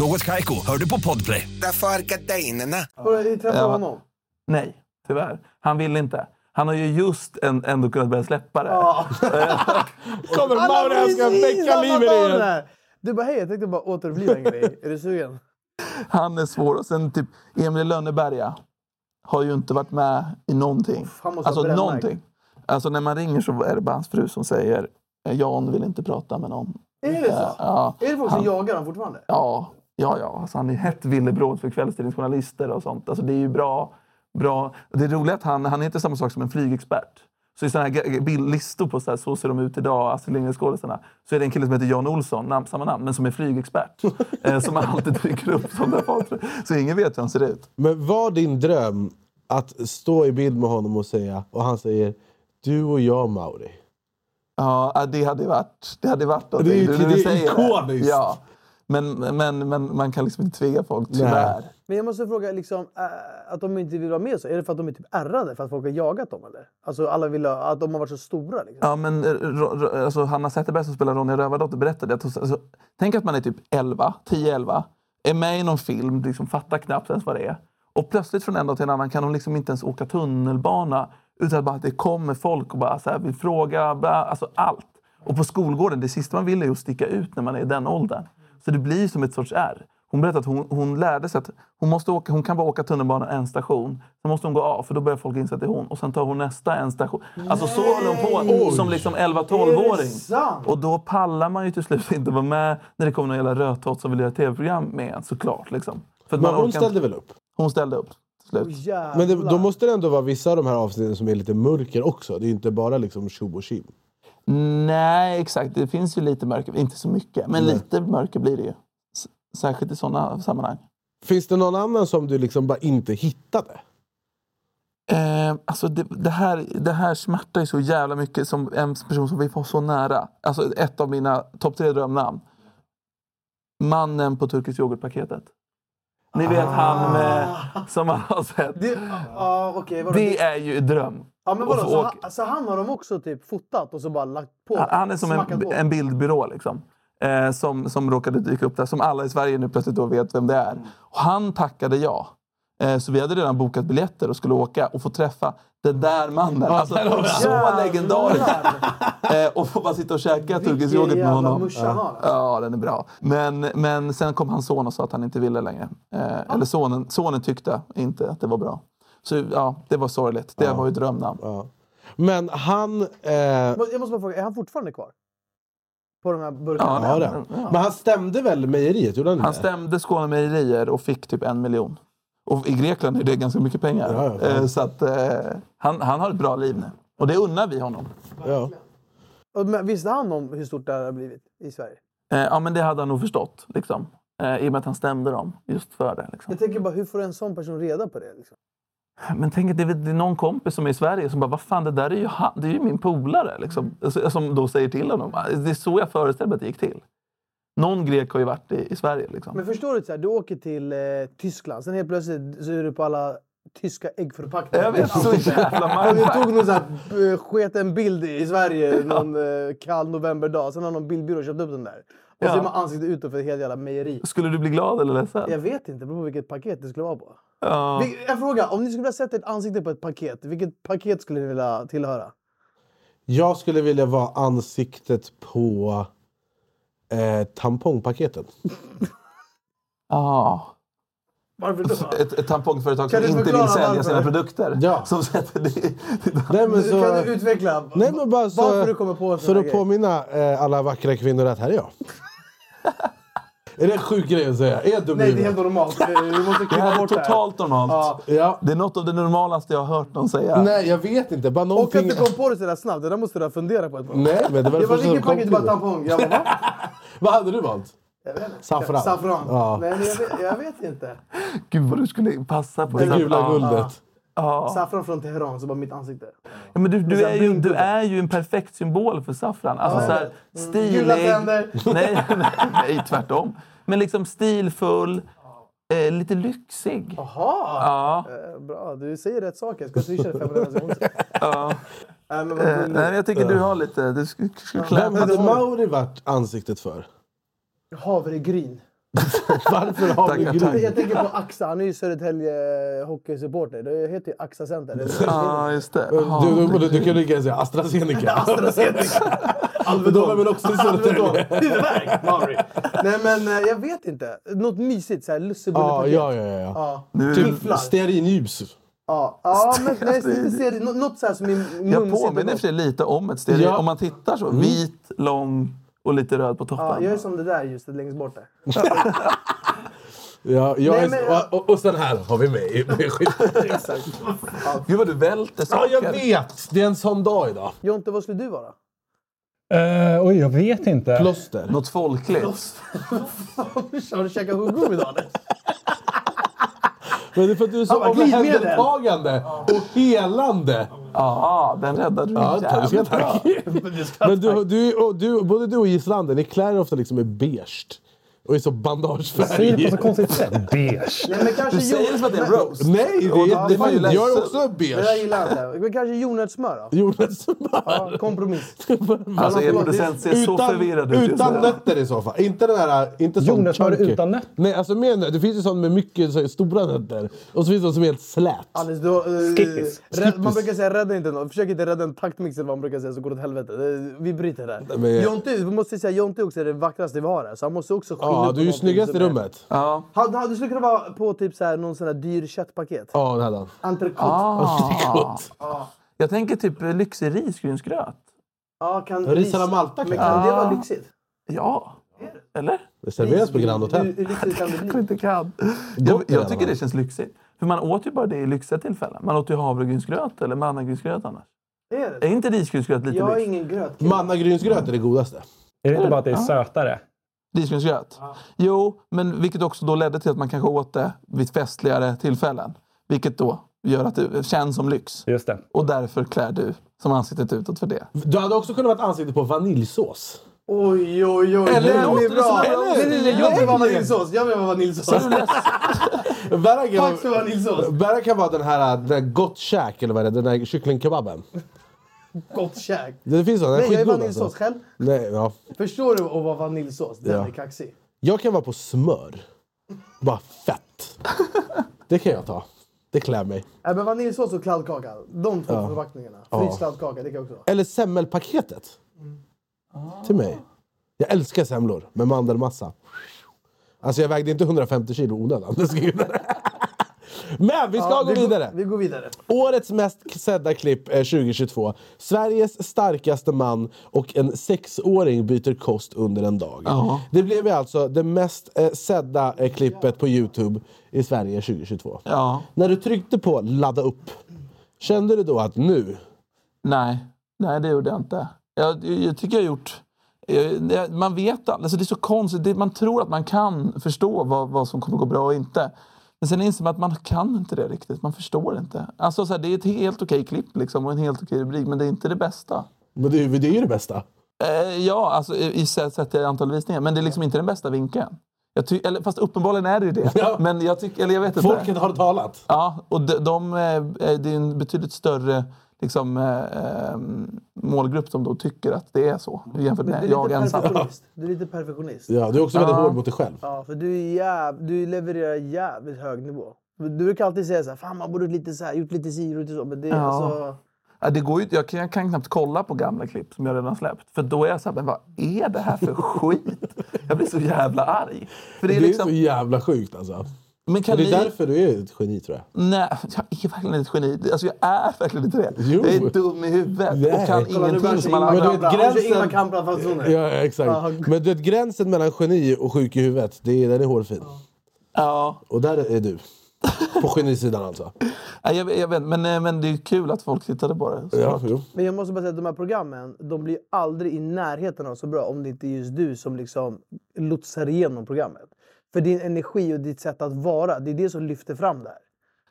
Speaker 13: Något Kaiko, hör du på podplay.
Speaker 10: Därför är gardinerna.
Speaker 1: Träffade
Speaker 2: Ja.
Speaker 1: honom?
Speaker 2: Nej, tyvärr. Han vill inte. Han har ju just en, ändå kunnat börja släppa det.
Speaker 3: Kommer
Speaker 1: Han har
Speaker 3: Mauri, han ska
Speaker 1: precis
Speaker 3: väcka
Speaker 1: samma
Speaker 3: livet i
Speaker 1: barn
Speaker 3: er.
Speaker 1: där. Du bara, hej jag tänkte bara återuppliva en grej. Är du sugen?
Speaker 2: Han är svår. Och sen typ Emil Lönneberga har ju inte varit med i någonting.
Speaker 1: han måste
Speaker 2: Alltså
Speaker 1: ha brännmärkt.
Speaker 2: någonting. Alltså när man ringer så är det bara hans fru som säger "Eh, Jan vill inte prata med någon.
Speaker 1: Är det så?
Speaker 2: Ja,
Speaker 1: Är det folk som
Speaker 2: han-
Speaker 1: jagar honom fortfarande?
Speaker 2: Ja, ja, ja. Alltså, han är hett villebråd för kvällstidningsjournalister och sånt. Alltså, det är ju bra. bra. Det roliga är att han, han är inte samma sak som en flygexpert. Så i såna här ge- ge- bild- listor på så, här, så ser de ut idag, Astrid Lindgren-skådisarna, så är det en kille som heter Jan Olsson, namn, samma namn, men som är flygexpert. eh, som alltid dyker upp som där folk. Så ingen vet hur han ser ut.
Speaker 3: Men var din dröm att stå i bild med honom och säga, och han säger du och jag Mauri.
Speaker 2: Ja, det hade varit, det hade varit någonting.
Speaker 3: Det är ju-
Speaker 2: Du- du
Speaker 3: det är
Speaker 2: säger
Speaker 3: ikoniskt.
Speaker 2: Ja. Men, men, men man kan liksom inte tvinga folk, tyvärr.
Speaker 1: Men jag måste fråga, liksom, äh, att de inte vill vara med så, är det för att de är typ ärrade för att folk har jagat dem eller? Alltså alla vill ha, att de har varit så stora liksom.
Speaker 2: Ja, men eh, Ro- Ro- alltså, Hanna Zetterberg som spelar Ronja Rövardotter berättade att hon- alltså, tänk att man är typ 11, 10-11, är med i någon film, liksom fattar knappt ens vad det är. Och plötsligt från en dag till en annan kan hon liksom inte ens åka tunnelbana utan bara att det kommer folk och bara så här, vill fråga, bla, alltså allt. Och på skolgården, det sista man vill är ju att sticka ut när man är i den åldern. Så det blir som ett sorts R. Hon berättade att hon, hon lärde sig att hon, måste åka, hon kan bara åka tunnelbanan en station. Sen måste hon gå av för då börjar folk inse att det är hon. Och sen tar hon nästa en station. Alltså så håller hon på som liksom 11-12-åring. Och då pallar man ju till slut inte vara med när det kommer någon jävla rödtott som vill göra tv-program med en såklart. Liksom. För att
Speaker 3: Men
Speaker 2: man
Speaker 3: hon
Speaker 2: orkar
Speaker 3: ställde
Speaker 2: inte-
Speaker 3: väl upp?
Speaker 2: Hon ställde upp till slut.
Speaker 3: Men det, då måste det ändå vara vissa av de här avsnitten som är lite mörker också. Det är ju inte bara liksom tjo och tjim.
Speaker 2: Nej, exakt. Det finns ju lite mörker. Inte så mycket, men
Speaker 3: Nej.
Speaker 2: lite mörker blir det ju. S- Särskilt i sådana sammanhang.
Speaker 3: Finns det någon annan som du liksom bara inte hittade?
Speaker 2: Eh, alltså det, det, här, det här smärtar ju så jävla mycket som en person som vi var så nära. Alltså ett av mina topp tre drömnamn. Mannen på turkisk yoghurtpaketet. Ni vet han med, som man har sett.
Speaker 1: Ah. Det, ah, okej, vadå?
Speaker 2: Det är ju en dröm.
Speaker 1: Ja, men
Speaker 2: Och
Speaker 1: vadå,
Speaker 2: få
Speaker 1: så,
Speaker 2: åka-
Speaker 1: han, så han har de också typ fotat och så bara lagt på?
Speaker 2: Han- Han är som
Speaker 1: smackat
Speaker 2: en,
Speaker 1: på?
Speaker 2: en bildbyrå liksom. Eh, som, som råkade dyka upp där. Som alla i Sverige nu plötsligt då vet vem det är.
Speaker 3: Mm.
Speaker 2: Och han tackade ja. Eh, så vi hade redan bokat biljetter och skulle åka och få träffa den där mannen.
Speaker 3: Ja,
Speaker 2: Alltså,
Speaker 3: där har vi
Speaker 2: så
Speaker 3: den.
Speaker 2: legendarisk. eh, och få bara sitta och käka turkisk yoghurt med
Speaker 1: jävla
Speaker 2: honom.
Speaker 1: musch han
Speaker 2: Ja.
Speaker 1: har.
Speaker 2: ja, den är bra. Men, men sen kom hans son och sa att han inte ville längre. Eh, Eller sonen, sonen tyckte inte att det var bra. Så ja, det var sorgligt. Det var ju ett drömnamn.
Speaker 3: Men han...
Speaker 1: Må-
Speaker 3: Eh,
Speaker 1: Jag måste bara fråga, är han fortfarande kvar? På de här burkarna?
Speaker 3: ja, det. Men han stämde väl mejeriet? Gjorde han inte
Speaker 2: Han
Speaker 3: det?
Speaker 2: stämde Skåne Mejerier och fick typ en miljon. Och i Grekland är det ganska mycket pengar.
Speaker 3: Ja, ja.
Speaker 2: Eh, Så att, eh, han, han har ett bra liv nu. Och det unnar vi honom.
Speaker 3: Ja.
Speaker 1: Och Men visste han om hur stort det här har blivit i Sverige?
Speaker 2: Eh, ja, men det hade han nog förstått. Liksom. Eh, I och med att han stämde dem just för det. Liksom.
Speaker 1: Jag tänker bara, hur får en sån person reda på det? Liksom?
Speaker 2: Men tänk att det är väl- det är någon kompis som är i Sverige som bara, vad fan det där är ju, han, det är ju min polare. Liksom. Så- Som då säger till honom. Det är så jag föreställer mig att det gick till. Någon grek har ju varit i, i Sverige. Liksom.
Speaker 1: Men förstår du, så här, du åker till eh, Tyskland, sen helt plötsligt så är du på alla tyska äggförpackningar.
Speaker 2: Jag vet, så jävla mindfuck.
Speaker 1: Du tog någon sån här, eh, sket en bild i Sverige någon eh, kall novemberdag, sen har någon bildbyrå köpt upp den där. Och så
Speaker 2: Ja.
Speaker 1: är man ansiktet utåt för ett helt jävla mejeri.
Speaker 2: Skulle du bli glad eller ledsen?
Speaker 1: Jag vet inte, det beror på vilket paket det skulle vara på.
Speaker 2: Ja.
Speaker 1: Vil- En fråga, om ni skulle vilja sätta ett ansikte på ett paket, vilket paket skulle ni vilja tillhöra?
Speaker 3: Jag skulle vilja vara ansiktet på eh, tampongpaketet.
Speaker 2: Ah.
Speaker 1: Varför
Speaker 2: Ett, ett tampongföretag
Speaker 3: Kan
Speaker 2: som
Speaker 3: du
Speaker 2: inte vill
Speaker 3: förklara
Speaker 2: sälja
Speaker 3: varför?
Speaker 2: sina produkter.
Speaker 3: Ja.
Speaker 2: Som sätter det.
Speaker 3: Nej, men så- Kan du
Speaker 1: utveckla
Speaker 3: Nej, men bara så,
Speaker 2: varför du kommer på
Speaker 3: För
Speaker 2: såna
Speaker 3: att
Speaker 2: grejer?
Speaker 3: påminna eh, alla vackra kvinnor att här är jag. är det en sjuk grej att säga? Är jag dum i
Speaker 1: Nej, det är
Speaker 3: huvudet?
Speaker 1: helt normalt. Vi måste
Speaker 2: Det
Speaker 1: klippa
Speaker 2: här är
Speaker 1: bort det här.
Speaker 2: totalt normalt.
Speaker 3: Ja.
Speaker 2: Det är något av det normalaste jag har hört någon säga.
Speaker 3: Nej, jag vet inte. Bara
Speaker 1: Och att
Speaker 3: någonting...
Speaker 1: du kom på det sådär snabbt, det där måste du ha funderat på ett tag.
Speaker 3: Nej, men det var det
Speaker 1: Jag bara,
Speaker 3: första
Speaker 1: vilket
Speaker 3: som kom
Speaker 1: paket? Du
Speaker 3: till
Speaker 1: bara
Speaker 3: mig.
Speaker 1: tampong. Jag bara, va?
Speaker 3: Vad hade du valt? Saffran.
Speaker 1: Saffran.
Speaker 3: Ja.
Speaker 1: Nej, men jag, vet, jag vet inte.
Speaker 2: Gud vad du skulle passa på
Speaker 3: Det gula
Speaker 2: Ja.
Speaker 3: guldet.
Speaker 2: Ja.
Speaker 1: Saffran från Teheran, så bara mitt ansikte.
Speaker 2: Ja, men du, du,
Speaker 1: Sen
Speaker 2: är ju, du är ju en perfekt symbol för saffran. Alltså,
Speaker 1: Ja.
Speaker 2: så här,
Speaker 1: Mm.
Speaker 2: stilig.
Speaker 1: Gula tänder.
Speaker 2: Nej, nej, nej, tvärtom. Men liksom stilfull, eh, lite lyxig.
Speaker 1: Jaha!
Speaker 2: Ja.
Speaker 1: Eh, Bra, du säger rätt saker. Jag ska swisha dig 500 kronor.
Speaker 2: Ja.
Speaker 1: Nej, men vad
Speaker 2: Eh,
Speaker 1: gulligt.
Speaker 2: nej, jag tycker du har lite... Du ska, ska klä
Speaker 3: Vem hade Mauri varit ansiktet för?
Speaker 1: Havregryn.
Speaker 3: Varför har vi
Speaker 2: Tackar,
Speaker 1: Jag,
Speaker 3: gryn?
Speaker 1: jag tänker på Axa, han är ju Södertälje hockeysupporter. Det heter ju Axa Center. Det är-
Speaker 2: Ja, just det.
Speaker 3: Du, du, du, du kan lika gärna säga AstraZeneca.
Speaker 1: AstraZeneca.
Speaker 3: De är väl också i Södertälje?
Speaker 1: Huvudvärk, Mauri. Nej men eh, jag vet inte. Något mysigt, såhär
Speaker 3: Ja,
Speaker 1: lussebullepaket.
Speaker 3: ja, ja. ja.
Speaker 1: Ja.
Speaker 3: Typ
Speaker 1: Fifflar.
Speaker 3: stearinljus.
Speaker 1: Ja, ja men nej, inte ser, nå- något såhär som min mun
Speaker 2: Jag
Speaker 1: sitter
Speaker 2: påminner i
Speaker 1: på.
Speaker 2: och för sig lite om ett stearin.
Speaker 3: Ja. Mm.
Speaker 2: Om man tittar så. Vit, lång och lite röd på
Speaker 1: Ja,
Speaker 2: toppen.
Speaker 1: jag är som det där ljuset längst bort där.
Speaker 3: Ja, jag
Speaker 1: Nej,
Speaker 3: är-
Speaker 1: men-
Speaker 3: och, och, och sen här har vi med i med skylten.
Speaker 2: Gud vad du välter
Speaker 3: Ja,
Speaker 2: saker.
Speaker 3: jag vet! Det är en sån dag idag.
Speaker 1: Jonte, vad skulle du vara?
Speaker 4: Eh, oj, jag vet inte.
Speaker 3: Plåster.
Speaker 2: Något folkligt.
Speaker 1: Har du käkat huggorm idag eller?
Speaker 3: Men det är för att du är så
Speaker 1: Ja, men glidmedel.
Speaker 3: omhändertagande och helande.
Speaker 2: Ja, den räddade du
Speaker 3: Ja, tack,
Speaker 2: jävligt
Speaker 3: tack.
Speaker 2: bra.
Speaker 3: Men du, du, och du, både du och gisslanden, ni klär er ofta liksom i beige. Och i så
Speaker 4: Säger det på
Speaker 3: bandagefärg.
Speaker 4: så konstigt sätt. Beige.
Speaker 1: Nej, men
Speaker 2: Du
Speaker 1: kanske
Speaker 2: säger det som att det är en roast.
Speaker 3: Alltså, Nej, det
Speaker 2: Och
Speaker 3: är,
Speaker 2: det var ju
Speaker 3: det jag är
Speaker 2: ledsen.
Speaker 3: också
Speaker 1: Det där
Speaker 3: beige.
Speaker 1: gillar jag inte. Men kanske jordnötssmör då?
Speaker 3: Jonas
Speaker 1: Ja, kompromiss.
Speaker 2: Alltså, er producent ser så förvirrad ut just
Speaker 3: Utan
Speaker 2: nu.
Speaker 3: nötter i så fall. Inte den här... Inte sån
Speaker 4: Jordnötssmör
Speaker 3: chunky.
Speaker 4: utan nöt?
Speaker 3: Nej, alltså med nöt. Det finns ju sån med mycket så här, stora nötter. Och så finns det sån som är helt slät.
Speaker 1: Anders, du, har, eh,
Speaker 4: Skippis.
Speaker 1: rädd, man brukar säga rädda inte någon. Försök inte rädda en taktmix eller vad man brukar säga så går det åt helvete. Det- Vi bryter där.
Speaker 3: Nej, men-
Speaker 1: Jonte, vi måste säga Jonte också är det vackraste vi har här. Så han måste också skilja
Speaker 3: Ja,
Speaker 1: ut
Speaker 3: du är ju
Speaker 1: någonting
Speaker 3: snyggast i
Speaker 1: som är-
Speaker 3: rummet.
Speaker 2: Ja.
Speaker 1: Han, han, du skulle kunna vara på typ så här, någon sån här dyr köttpaket.
Speaker 3: Ja, det hade han.
Speaker 1: Entrecote.
Speaker 2: Ah.
Speaker 3: Gott.
Speaker 2: Jag tänker typ eh, lyxig risgrynsgröt.
Speaker 1: Ja, kan
Speaker 3: Ris
Speaker 1: ris-
Speaker 3: à la Malta
Speaker 1: Men
Speaker 3: kanske?
Speaker 1: kan det vara
Speaker 2: Ah.
Speaker 1: lyxigt?
Speaker 2: Ja. Eller?
Speaker 3: Det serveras på Grand
Speaker 1: Hur,
Speaker 3: Hotel.
Speaker 1: hur lyxigt kan det
Speaker 2: Jag
Speaker 1: bli?
Speaker 2: inte kan.
Speaker 3: Gott
Speaker 2: Jag,
Speaker 3: är det,
Speaker 2: jag tycker
Speaker 3: va?
Speaker 2: det känns lyxigt. För man åt ju bara det i lyxiga tillfällen. Man åt ju havregrynsgröt eller mannagrynsgröt annars.
Speaker 1: Är det?
Speaker 2: Är inte risgrynsgröt lite
Speaker 1: Jag har
Speaker 2: lyx?
Speaker 1: ingen gröt.
Speaker 3: Mannagrynsgröt är det godaste.
Speaker 4: Är det inte bara att det är sötare?
Speaker 2: Risgrynsgröt? Jo, men vilket också då ledde till att man kanske åt det vid festligare tillfällen. Vilket då gör att det känns som lyx.
Speaker 4: Just det.
Speaker 2: Och därför klär du som ansiktet utåt för det.
Speaker 3: Du hade också kunnat vara ett ansikte på vaniljsås.
Speaker 1: Oj, oj, oj.
Speaker 3: Eller
Speaker 1: den
Speaker 3: låter
Speaker 1: är
Speaker 3: det som
Speaker 1: bra.
Speaker 3: en roast?
Speaker 1: Nej, nej, nej. Jag vill vara vaniljsås. Jag vill vara vaniljsås.
Speaker 3: Berra kan,
Speaker 1: Tack för vaniljsås.
Speaker 3: Berra kan vara den här, äh, den här gott käk, eller vad är det Den där kycklingkebaben.
Speaker 1: Gott käk.
Speaker 3: Det finns sån, den är
Speaker 1: Nej, jag är
Speaker 3: skitgod
Speaker 1: vaniljsås
Speaker 3: alltså.
Speaker 1: själv.
Speaker 3: Nej, ja.
Speaker 1: Förstår du att vara vaniljsås? Den
Speaker 3: Ja.
Speaker 1: är kaxig.
Speaker 3: Jag kan vara på smör. Bara fett. Det kan jag ta. Det klär mig.
Speaker 1: Äh, men vaniljsås och kladdkaka. De två
Speaker 3: Ja.
Speaker 1: förpackningarna.
Speaker 3: Ja.
Speaker 1: Fryst kladdkaka, det kan jag också vara.
Speaker 3: Eller semmelpaketet. Till mig. Jag älskar semlor med mandelmassa. Alltså jag vägde inte 150 kilo i onödan. Det ska gudarna- Men vi ska
Speaker 1: Ja,
Speaker 3: gå vidare.
Speaker 1: Vi går vidare.
Speaker 3: Årets mest sedda klipp är 2022. Sveriges starkaste man och en sexåring byter kost under en dag.
Speaker 2: Ja.
Speaker 3: Det blev ju alltså det mest eh, sedda eh, klippet på Youtube i Sverige 2022.
Speaker 2: Ja.
Speaker 3: När du tryckte på ladda upp, kände du då att nu...
Speaker 2: Nej, nej det gjorde jag inte. Jag, jag tycker jag gjort... jag- jag- Man vet aldrig. Alltså det är så konstigt. Det, man tror att man kan förstå vad, vad som kommer gå bra och inte. Men sen inser man att man kan inte det riktigt. Man förstår inte. Alltså så här, det är ett helt okej klipp liksom, och en helt okej rubrik, men det är inte det bästa.
Speaker 3: Men det, är ju- det är ju det bästa.
Speaker 2: Eh, ja, alltså i, i sätt sätt till antal visningar. Men det är liksom inte den bästa vinkeln. Jag ty- eller, fast uppenbarligen är det ju det.
Speaker 3: Ja.
Speaker 2: Men jag, tycker eller jag vet inte.
Speaker 3: Folket har talat.
Speaker 2: Ja, och de, de, eh, det är en betydligt större liksom, eh, eh, målgrupp som då tycker att det är så jämfört
Speaker 1: Men
Speaker 2: med
Speaker 1: du är
Speaker 2: jag
Speaker 1: lite
Speaker 2: ensam.
Speaker 1: perfektionist. Du är lite perfektionist.
Speaker 3: Ja, du är också väldigt
Speaker 2: Ja.
Speaker 3: hård mot dig själv.
Speaker 1: Ja, för du, är jäv... du levererar jävligt hög nivå. Du brukar alltid säga så här, fan man borde gjort lite så här, gjort lite si, gjort lite så. Men det är
Speaker 2: Ja.
Speaker 1: alltså...
Speaker 2: Ja, det går ju, inte- jag, kan, jag kan knappt kolla på gamla klipp som jag redan har släppt. För då är jag så här, men vad är det här för skit? Jag blir så jävla arg. För det är
Speaker 3: så
Speaker 2: liksom,
Speaker 3: jävla sjukt alltså.
Speaker 2: men kan
Speaker 3: Men det är
Speaker 2: ni,
Speaker 3: därför du är ett geni tror jag.
Speaker 2: nej, jag är verkligen ett geni. Alltså jag är verkligen inte det.
Speaker 3: Jo.
Speaker 2: Jag är dum i huvudet
Speaker 3: Nej.
Speaker 2: och kan
Speaker 3: Kolla, nu
Speaker 2: ingenting som alla
Speaker 3: Ingmar
Speaker 2: andra.
Speaker 3: Kamprad.
Speaker 1: Kamprad. Han kör Ingmar
Speaker 3: gränsen-
Speaker 1: Kamprad-fasoner.
Speaker 3: Ja, exakt.
Speaker 1: Ja.
Speaker 3: Men du vet, gränsen mellan geni och sjuk i huvudet, det är, den är hårfin.
Speaker 2: Ja.
Speaker 3: Och där är du. På genisidan alltså.
Speaker 2: Nej, Jag, jag vet, men, eh, men det är kul att folk tittade på det.
Speaker 3: Ja, jo.
Speaker 1: Men jag måste bara säga att de här programmen, de blir aldrig i närheten av så bra om det inte är just du som liksom lotsar igenom programmet. För din energi och ditt sätt att vara, det är det som lyfter fram det här.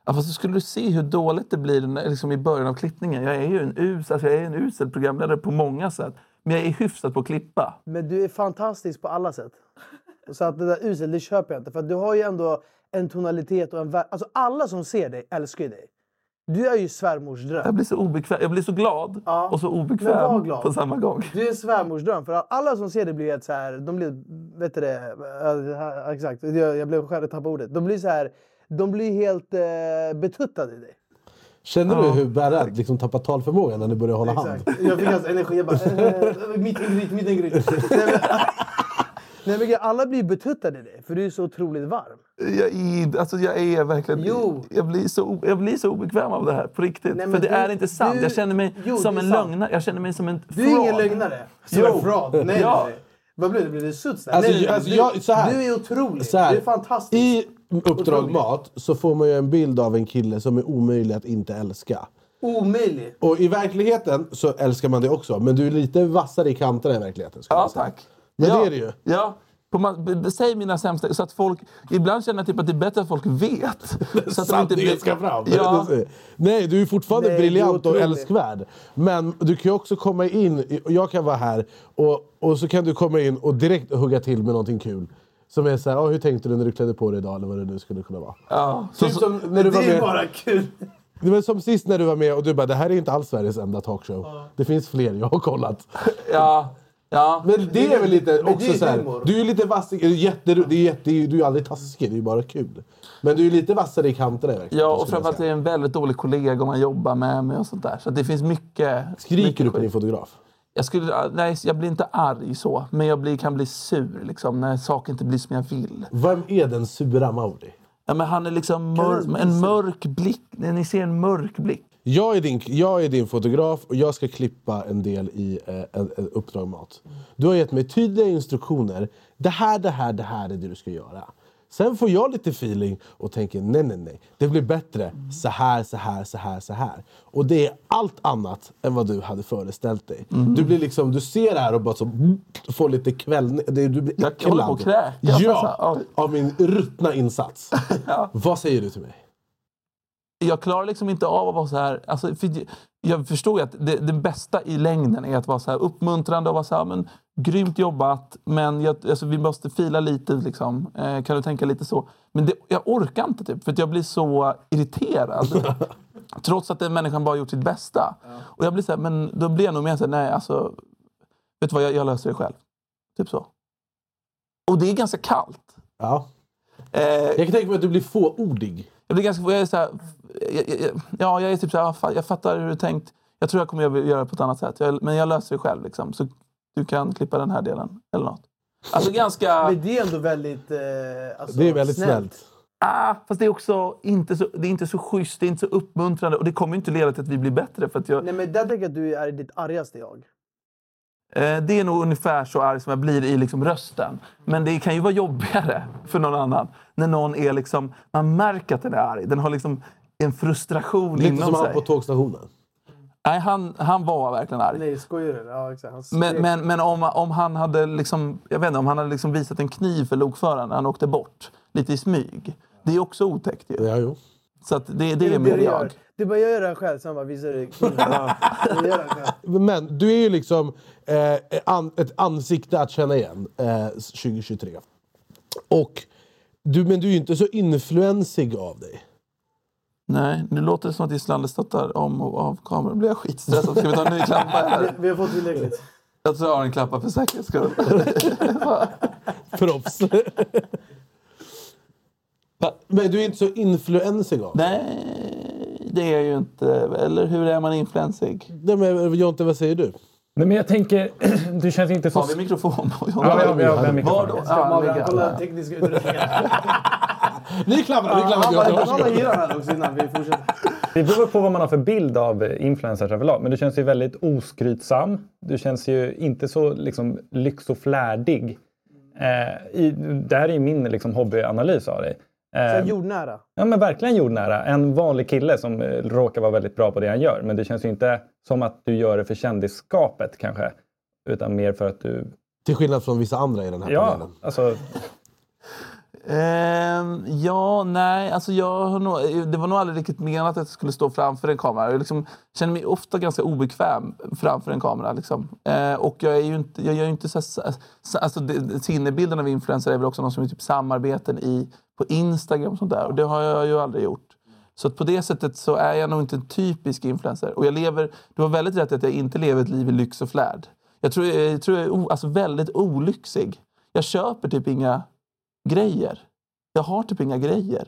Speaker 2: Ja, fast så skulle du se hur dåligt det blir när, liksom i början av klippningen. Jag är ju en, us, alltså jag är en usel programledare på många sätt. Men jag är hyfsad på att klippa.
Speaker 1: Men du är fantastisk på alla sätt. Så att det där usel, det köper jag inte. För att du har ju ändå en tonalitet och en värld. Alltså alla som ser dig älskar ju dig. Du är ju svärmors dröm.
Speaker 2: Jag blir så, obekväm. Jag blir så glad och så
Speaker 1: Men var
Speaker 2: obekväm
Speaker 1: glad.
Speaker 2: på samma gång.
Speaker 1: Du är svärmorsdröm. För alla som ser det blir helt så här... De blir... Vet du det? eh, Exakt. Jag, jag blev själv tappade ordet. De blir så här... De blir helt eh, betuttade i dig.
Speaker 3: Känner du
Speaker 1: Ja.
Speaker 3: hur Berad liksom tappar talförmågan när ni börjar hålla hand?
Speaker 1: Jag fick hans energi. Jag bara... eh, mitt ingrid, mitt ingrid. Nej, men, nej, men alla blir betuttade i dig. För du är så otroligt varm.
Speaker 2: Jag är, alltså jag är verkligen... Jag, blir så, jag blir så obekväm av det här, på riktigt.
Speaker 1: Nej, men
Speaker 2: För det
Speaker 1: du-
Speaker 2: är inte sant.
Speaker 1: du-
Speaker 2: jag känner mig
Speaker 1: Jo,
Speaker 2: som
Speaker 1: det är
Speaker 2: en
Speaker 1: sant.
Speaker 2: lögnare. Jag känner mig som en
Speaker 1: Du är ingen
Speaker 2: fraud.
Speaker 1: lögnare. Som
Speaker 2: Jo.
Speaker 1: en fraud. Nej, nej,
Speaker 2: Ja.
Speaker 1: nej. Vad blir det? Blir det suits? där?
Speaker 3: Alltså,
Speaker 1: nej, nej,
Speaker 3: jag- alltså,
Speaker 1: du,
Speaker 3: jag- så här.
Speaker 1: du är otrolig.
Speaker 3: Så här.
Speaker 1: Du är fantastisk.
Speaker 3: I Uppdrag
Speaker 1: Otrolig.
Speaker 3: Mat så får man ju en bild av en kille som är omöjlig att inte älska.
Speaker 1: Omöjlig.
Speaker 3: Och i verkligheten så älskar man det också, men du är lite vassare i kanterna i verkligheten. Ja,
Speaker 2: tack.
Speaker 3: Men
Speaker 2: ja.
Speaker 3: det är det ju.
Speaker 2: Ja. På man, b- b- säg mina sämsta... Så att folk, ibland känner jag typ att det är bättre att folk vet. Så att
Speaker 3: Sanningen ska fram.
Speaker 2: Ja.
Speaker 3: Nej, du är fortfarande
Speaker 2: Nej,
Speaker 3: briljant
Speaker 2: det är
Speaker 3: och
Speaker 2: otroligt.
Speaker 3: älskvärd. Men du kan ju också komma in, i- och jag kan vara här, och, och så kan du komma in och direkt hugga till med någonting kul. Som är såhär, ah, hur tänkte du när du klädde på dig idag? Eller vad det nu skulle kunna vara.
Speaker 2: Ja.
Speaker 3: Typ som när du var
Speaker 1: det är
Speaker 3: med.
Speaker 1: bara kul.
Speaker 3: Det var som sist när du var med och du bara, det här är inte alls Sveriges enda talkshow. Det finns fler, jag har kollat.
Speaker 2: Ja. ja.
Speaker 3: Men det är väl lite
Speaker 2: Men det
Speaker 3: också
Speaker 2: är
Speaker 3: så här,
Speaker 2: humor.
Speaker 3: Du är lite vass, det är jätte, det är jätte, du är ju aldrig taskig, det är ju bara kul. Men du är lite vassare i kanterna verkligen.
Speaker 2: Ja, och
Speaker 3: skulle jag
Speaker 2: framförallt är jag en väldigt dålig kollega om man jobbar med mig och sånt där. Så att det finns mycket...
Speaker 3: Skriker
Speaker 2: mycket
Speaker 3: du på
Speaker 2: skit.
Speaker 3: din fotograf?
Speaker 2: Jag, skulle, nej, jag blir inte arg så, men jag blir, kan bli sur liksom, när saker inte blir som jag vill.
Speaker 3: Vem är den sura Mauri?
Speaker 2: Ja, men han är liksom
Speaker 3: Kan
Speaker 2: mör,
Speaker 3: du-
Speaker 2: en mörk blick. Ni ser en mörk blick.
Speaker 3: Jag är, din, jag är din fotograf och jag ska klippa en del i eh, en, en Uppdrag Mat. Du har gett mig tydliga instruktioner. Det här, det här, det här är det du ska göra. Sen får jag lite feeling och tänker nej, nej, nej. Det blir bättre så här, så här, så här, så här. Och det är allt annat än vad du hade föreställt dig.
Speaker 2: Mm.
Speaker 3: Du blir liksom, du ser det här och bara så, får lite kvällning. Det- Du blir
Speaker 2: Jag håller på att
Speaker 3: äcklad.
Speaker 2: kräkas,
Speaker 3: Ja,
Speaker 2: alltså.
Speaker 3: av min ruttna insats. Vad säger du till mig?
Speaker 2: Jag klarar liksom inte av att vara så här... Alltså, för jag förstod ju att det, det bästa i längden är att vara så här uppmuntrande och vara så här, men, grymt jobbat, men jag, alltså, vi måste fila lite. Liksom. Eh, kan du tänka lite så? Men det, jag orkar inte, typ, för att jag blir så irriterad. trots att den människan bara gjort sitt bästa. Och jag blir så här, men då blir jag nog mer så här, nej alltså, vet du vad, jag, jag löser det själv. Typ så. Och det är ganska kallt.
Speaker 3: Ja.
Speaker 2: jag
Speaker 3: kan tänka mig att du blir fåordig.
Speaker 2: Eh, Jag blir ganska, jag är så här, jag, jag, jag, ja, jag är typ så här, "Ah, fan, jag fattar hur du tänkt. Jag tror jag kommer göra- göra det på ett annat sätt. Jag, men jag löser det själv liksom. Så du kan klippa den här delen. Eller något. Alltså ganska...
Speaker 1: Men det är ändå väldigt... Eh, alltså,
Speaker 2: Ah, fast det är också inte så, det är inte så schysst, det är inte så uppmuntrande och det kommer ju inte leda till att vi blir bättre. För att jag,
Speaker 1: Nej, men där tänker jag att du är ditt argaste jag.
Speaker 2: Eh, Det är nog ungefär så arg som jag blir i liksom rösten. Men det kan ju vara jobbigare för någon annan. När någon är liksom, man märker att den är arg. Den har liksom en frustration
Speaker 3: Lite
Speaker 2: inom
Speaker 3: som han
Speaker 2: sig.
Speaker 3: på tågstationen.
Speaker 2: Nej, han, han var verkligen arg.
Speaker 1: Nej, skojar du? Ja, exakt. Han
Speaker 2: Men,
Speaker 1: skrek.
Speaker 2: men, men om, om han hade, liksom, jag vet inte, om han hade liksom visat en kniv för lokföraren när han åkte bort, lite i smyg. Det är också otäckt ju.
Speaker 3: Ja, jo.
Speaker 2: Så att det, det är
Speaker 1: du
Speaker 2: mer
Speaker 1: gör.
Speaker 2: jag.
Speaker 1: Du bara, jag gör det här själv. Sen bara, visar du kniven. Jag gör det här själv.
Speaker 3: Men du är ju liksom eh, an, ett ansikte att känna igen eh, 2023. Och du, men du är ju inte så influensig av dig.
Speaker 2: Nej, nu låter det som att det är slanderstöttar om och av kameran. blir jag skitstressad. Ska vi ta en ny klappa eller?
Speaker 1: Vi- Vi har fått tillräckligt.
Speaker 2: Jag tror jag har en klappa för säkerhets skull.
Speaker 3: Proffs. Va? men du är inte så influensig av dig.
Speaker 2: Nej, det är jag ju inte. Eller hur är man influensig?
Speaker 3: Nej, men Jonte, vad säger du?
Speaker 4: Nej, men jag tänker, du känns inte så...
Speaker 2: Har vi mikrofon på?
Speaker 4: Ja, ja, vi har- vi har mikrofon.
Speaker 2: Var då?
Speaker 4: Ska
Speaker 2: Ja,
Speaker 1: Mavra,
Speaker 2: lägg-
Speaker 1: kolla den tekniska utrustningen.
Speaker 3: Ni klappar, ni
Speaker 1: Han
Speaker 3: klappar.
Speaker 1: bara, kolla hyran här också innan vi fortsätter.
Speaker 4: Det beror på vad man har för bild av influencers överlag. Men du känns ju väldigt oskrytsam. Du känns ju inte så liksom, lyx och flärdig. Eh, i, det här är ju min liksom, hobbyanalys av dig.
Speaker 1: Så
Speaker 4: Eh,
Speaker 1: jordnära.
Speaker 4: ja, men verkligen jordnära. En vanlig kille som eh, råkar vara väldigt bra på det han gör. Men det känns ju inte som att du gör det för kändisskapet kanske. Utan mer för att du...
Speaker 3: Till skillnad från vissa andra i den här
Speaker 4: Ja,
Speaker 3: panelen.
Speaker 4: alltså,
Speaker 2: Ehm, ja, nej. Alltså jag har nog, det var nog aldrig riktigt menat att jag skulle stå framför en kamera. Jag liksom, känner mig ofta ganska obekväm framför en kamera. Liksom. Eh, och jag är ju inte... Jag gör ju inte så, så, så- alltså, det, det- sinnebilden av influencer är väl också någon som är typ samarbeten i, på Instagram och sånt där. Och det har jag ju aldrig gjort. Så att på det sättet så är jag nog inte en typisk influencer. Och jag lever, du har väldigt rätt i att jag inte lever ett liv i lyx och flärd. Jag tror jag, tror jag är o, alltså väldigt olyxig. Jag köper typ inga grejer. Jag har typ inga grejer.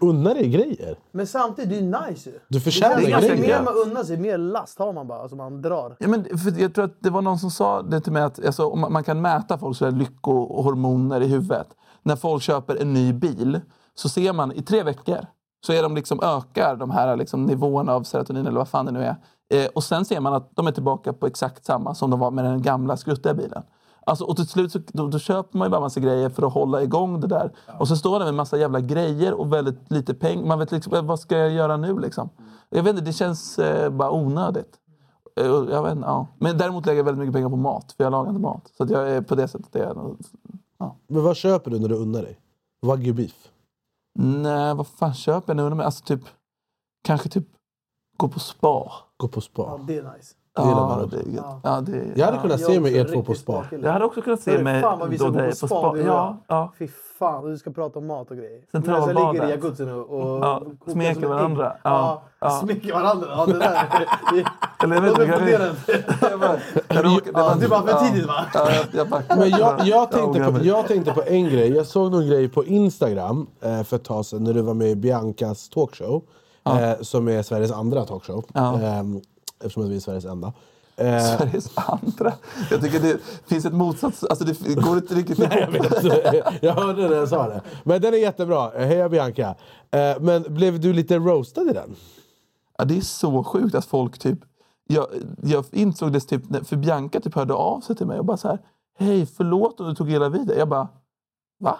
Speaker 3: Unna dig grejer?
Speaker 1: Men samtidigt, det är ju nice ju.
Speaker 3: Du förtjänar
Speaker 1: det är ganska-
Speaker 3: grejer.
Speaker 1: Ju mer man unnar sig, ju mer last har man bara. Alltså man drar.
Speaker 2: Ja, men för jag tror att det var någon som sa det till mig att alltså, om man, man kan mäta folks så här lyckohormoner i huvudet. När folk köper en ny bil så ser man i tre veckor så är de liksom, ökar de här liksom, nivåerna av serotonin eller vad fan det nu är. Eh, och sen ser man att de är tillbaka på exakt samma som de var med den gamla skruttiga bilen. Alltså, och till slut så, då, då köper man ju bara massa grejer för att hålla igång det där. Och så står det med massa jävla grejer och väldigt lite pengar. Man vet liksom, vad ska jag göra nu liksom? Jag vet inte, det känns eh, bara onödigt. Eh, och Jag vet, inte, ja. Men däremot lägger jag väldigt mycket pengar på mat, för jag lagar inte mat. Så att jag är på det sättet är jag nog-
Speaker 3: Men vad köper du när du unnar dig? Wagyu beef?
Speaker 2: Nej, vad fan köper jag nu? Men Alltså typ, kanske typ gå på spa.
Speaker 3: Gå på spa.
Speaker 1: Ja, det är nice.
Speaker 2: Ja,
Speaker 3: Det gillar man också.
Speaker 2: det är gött. Ja, det,
Speaker 3: Ah, Jag hade
Speaker 2: ja.
Speaker 3: kunnat se mig er två på spa.
Speaker 2: Jag hade också kunnat se
Speaker 1: Hörru,
Speaker 2: mig
Speaker 1: Fan vad vi
Speaker 2: då
Speaker 1: ska gå
Speaker 2: dig
Speaker 1: på spa.
Speaker 2: på spa.
Speaker 1: du och
Speaker 2: Ja,
Speaker 1: jag. Fy fan, och du ska prata om mat och grejer.
Speaker 2: Centralbadet.
Speaker 1: Men sen ligger i jacuzzin och, och
Speaker 2: Ja,
Speaker 1: kokar
Speaker 2: smeker
Speaker 1: som ett ägg.
Speaker 2: varandra. Ja,
Speaker 1: Ja,
Speaker 2: ja.
Speaker 1: Smeker varandra. Ja, det där.
Speaker 2: Eller vet
Speaker 1: De
Speaker 2: du,
Speaker 1: är
Speaker 2: jag
Speaker 1: funderande. Jag bara- Ja, Du bara, för tidigt va?
Speaker 3: Men jag, jag, tänkte
Speaker 2: ångrar
Speaker 3: på,
Speaker 2: mig.
Speaker 3: jag tänkte på en grej. Jag såg någon grej på Instagram eh, för ett tag sedan när du var med i Biancas talkshow. Eh, som är Sveriges andra talkshow. Eh, eftersom att vi är Sveriges enda. Eh,
Speaker 2: Sveriges andra? Jag tycker det finns ett motsats... Alltså det går inte riktigt ihop.
Speaker 3: Nej, jag, vet. jag hörde när jag sa det. Men den är jättebra. Eh, Heja Bianca! Eh, men blev du lite roastad i den?
Speaker 2: Ja, det är så sjukt att folk typ... Jag, jag insåg det typ, när- för Bianca typ hörde av sig till mig och bara så här... Hej, förlåt om du tog illa vid dig. Jag bara... Va?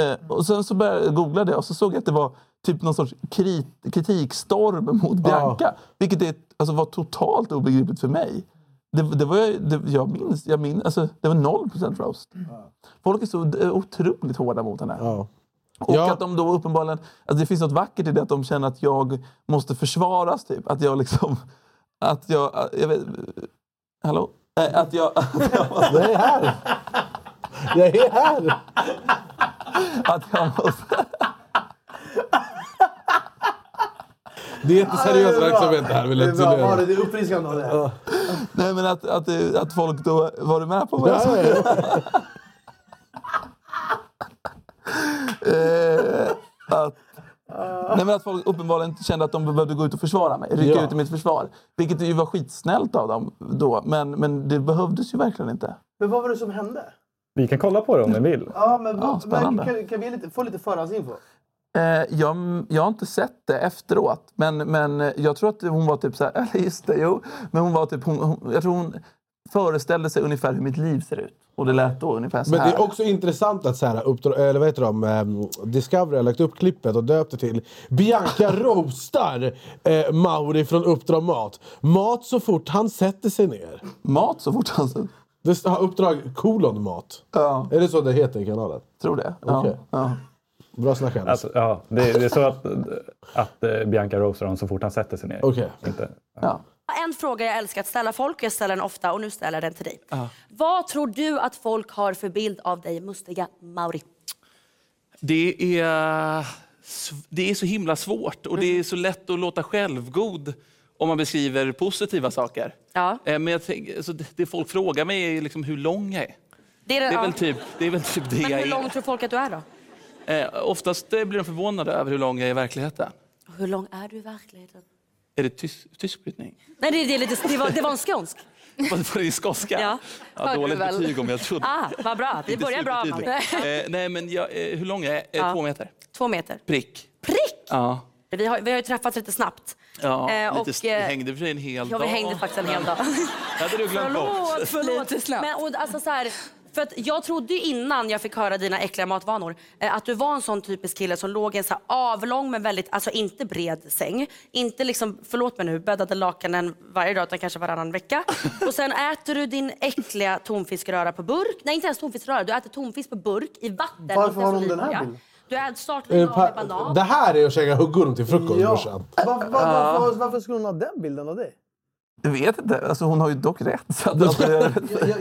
Speaker 2: Eh, och sen så började jag googla det och så såg jag att det var typ någon sorts krit, kritikstorm mot Bianca. Vilket är, alltså, var totalt obegripligt för mig. Det, det var, jag- det, jag minns, jag minns alltså, det var 0% roast. Folk är så eh, otroligt hårda mot henne. Och att de då uppenbarligen... Alltså det finns något vackert i det att de känner att jag måste försvaras. Typ. Att jag liksom... Att jag... jag vet, hallå? Eh, Att jag... Att jag måste,
Speaker 3: jag är här! Jag är här!
Speaker 2: Att jag måste...
Speaker 3: Det är inte seriös verksamhet det här vill jag
Speaker 1: Det är bra,
Speaker 3: tydliggöra.
Speaker 1: Malin, det är uppfriskande av det här.
Speaker 2: Nej men att, att, eh, att folk då... Var du med på vad jag sa?
Speaker 3: Ja, ja,
Speaker 2: Eh, att, nej men att folk uppenbarligen kände att de behövde gå ut och försvara mig. Rycka
Speaker 3: Ja.
Speaker 2: ut i mitt försvar. Vilket ju var skitsnällt av dem då. Men, men det behövdes ju verkligen inte.
Speaker 1: Men vad var det som hände?
Speaker 4: Vi kan kolla på det om ni vill.
Speaker 1: Ja, men, men
Speaker 2: spännande.
Speaker 1: kan, kan vi lite, få lite förhandsinfo?
Speaker 2: Eh, jag, jag har inte sett det efteråt, men, men jag tror att hon var typ så här... Eller just det, jo. Men hon var typ... Hon, hon, jag tror hon föreställde sig ungefär hur mitt liv ser ut. Och det lät då ungefär så
Speaker 3: Men
Speaker 2: här.
Speaker 3: det är också intressant att så här, uppdra- eller vad heter de, ehm, Discovery har lagt upp klippet och döpt det till Bianca roastar eh, Mauri från Uppdrag Mat. Mat så fort han sätter sig ner.
Speaker 2: Mat så fort han sätter
Speaker 3: Det st- har Uppdrag kolon mat.
Speaker 2: Ja,
Speaker 3: Är det så det heter i kanalen?
Speaker 2: tror det.
Speaker 3: Okej.
Speaker 2: Ja,
Speaker 3: Bra snackat.
Speaker 4: Alltså, ja, det, det är så att, att eh, Bianca roastar honom så fort han sätter sig ner.
Speaker 3: Okej.
Speaker 4: Inte.
Speaker 2: ja.
Speaker 14: En fråga jag älskar att ställa folk, jag ställer den ofta och nu ställer jag den till dig.
Speaker 15: Ja.
Speaker 14: Vad tror du att folk har för bild av dig, mustiga Mauri?
Speaker 15: Det är, sv- det är så himla svårt och det är så lätt att låta självgod om man beskriver positiva saker.
Speaker 14: Ja.
Speaker 15: Eh, Men jag tänk, alltså det, det folk frågar mig är ju liksom hur lång jag är.
Speaker 14: Det är,
Speaker 15: Det är
Speaker 14: ja.
Speaker 15: väl typ det, är väl typ det
Speaker 14: Men
Speaker 15: jag
Speaker 14: hur
Speaker 15: är.
Speaker 14: lång tror folk att du är då?
Speaker 15: Eh, Oftast eh, blir de förvånade över hur lång jag är i verkligheten.
Speaker 14: Hur lång är du i verkligheten?
Speaker 15: Är det tysk, tysk brytning?
Speaker 14: Nej, det, det, är lite, det, var, det var en skånsk.
Speaker 15: Var det din skånska?
Speaker 14: Ja,
Speaker 15: ja,
Speaker 14: hörde du
Speaker 15: dåligt
Speaker 14: väl.
Speaker 15: betyg om jag trodde.
Speaker 14: Ah, vad bra. Vi
Speaker 15: Inte
Speaker 14: börjar bra,
Speaker 15: supertydligt.
Speaker 14: Mauri.
Speaker 15: eh, Nej, men jag, eh, hur lång är jag? Eh,
Speaker 14: Ja.
Speaker 15: Två meter?
Speaker 14: Två meter.
Speaker 15: Prick.
Speaker 14: Prick!
Speaker 15: Ja.
Speaker 14: Vi har, vi har ju träffats lite snabbt.
Speaker 15: Ja,
Speaker 14: Eh,
Speaker 15: lite
Speaker 14: och,
Speaker 15: st-
Speaker 14: eh,
Speaker 15: hängde för sig en hel
Speaker 14: Ja,
Speaker 15: dag.
Speaker 14: vi hängde faktiskt en hel dag.
Speaker 15: Det hade du glömt bort.
Speaker 14: Men, och, alltså, så här, för att jag trodde ju innan jag fick höra dina äckliga matvanor eh, att du var en sån typisk kille som låg i en så här avlång men väldigt, alltså inte bred säng. Inte liksom, förlåt mig nu, bäddade lakanen varje dag utan kanske varannan vecka. Och sen äter du din äckliga tonfiskröra på burk. Nej inte ens tonfiskröra, du äter tonfisk på burk i vatten.
Speaker 1: Varför
Speaker 14: inte ens
Speaker 1: har hon den här
Speaker 14: olivolja.
Speaker 1: bilden?
Speaker 14: Du äter startlinan
Speaker 3: Eh,
Speaker 14: av med
Speaker 3: pa-
Speaker 14: banan.
Speaker 3: det här är att käka huggorm till frukost
Speaker 1: Ja.
Speaker 3: brorsan.
Speaker 1: Var, var, var, var, varför skulle hon ha den bilden av dig?
Speaker 2: Jag vet inte. Alltså, hon har ju dock rätt. Så att, alltså,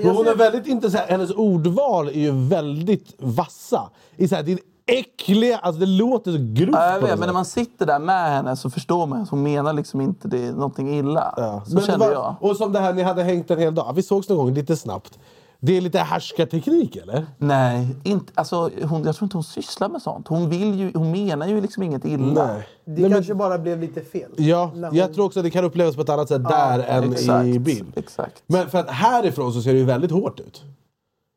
Speaker 3: Men hon är väldigt intressant. Hennes ordval är ju väldigt vassa. I så här, din äckliga... Alltså det låter så grovt
Speaker 2: Ja, jag
Speaker 3: på
Speaker 2: vet,
Speaker 3: något
Speaker 2: men när
Speaker 3: sätt.
Speaker 2: man sitter där med henne så förstår man att hon menar liksom inte det är någonting illa. Så
Speaker 3: Men det
Speaker 2: kände
Speaker 3: var-
Speaker 2: jag.
Speaker 3: Och som det här, ni hade hängt en hel dag. Vi sågs någon gång lite snabbt. Det är lite härskarteknik eller?
Speaker 2: Nej, inte, alltså, hon, jag tror inte hon sysslar med sånt. Hon, vill ju, hon menar ju liksom inget illa.
Speaker 3: Nej.
Speaker 1: Det kanske bara blev lite fel.
Speaker 3: Ja,
Speaker 1: När
Speaker 3: jag
Speaker 1: hon-
Speaker 3: tror också att det kan upplevas på ett annat sätt
Speaker 1: Ja,
Speaker 3: där än i
Speaker 2: exakt,
Speaker 3: bild.
Speaker 2: Exakt.
Speaker 3: Men för att härifrån så ser det ju väldigt hårt ut.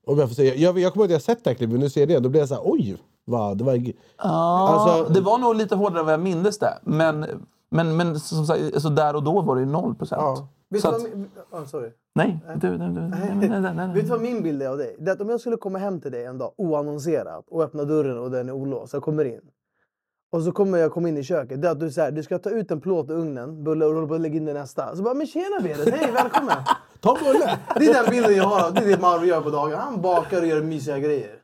Speaker 3: Om jag, får säga. jag, jag kommer ihåg att jag sett det här klippet, men nu ser jag det igen. Då blir jag så här, oj! Vad, det var... g-"
Speaker 2: Ja,
Speaker 3: Alltså-
Speaker 2: det var nog lite hårdare än vad jag mindes det. Men, men, men som sagt, alltså, där och då var det ju noll procent.
Speaker 1: Vet
Speaker 2: Så
Speaker 1: du
Speaker 2: att,
Speaker 1: vad min... ah, sorry.
Speaker 2: nej, du, du, du, nej, men- nej, nej,
Speaker 1: Vet du vad min bild är av dig? Det är att om jag skulle komma hem till dig en dag oannonserat och öppna dörren och den är olåst, jag kommer in. Och så kommer jag komma in i köket. Det är att du säger du ska ta ut en plåt ur ugnen, bulle och roll- lägga in den i nästa. Så bara, men tjena Berit, hej välkommen!
Speaker 3: ta bulle!
Speaker 1: Det är den bilden jag har av det är det Marvin gör på dagen. Han bakar och gör mysiga grejer.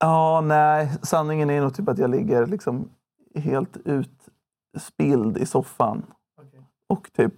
Speaker 2: Ja, nej. Sanningen är nog typ att jag ligger liksom helt utspilld i soffan. Och typ...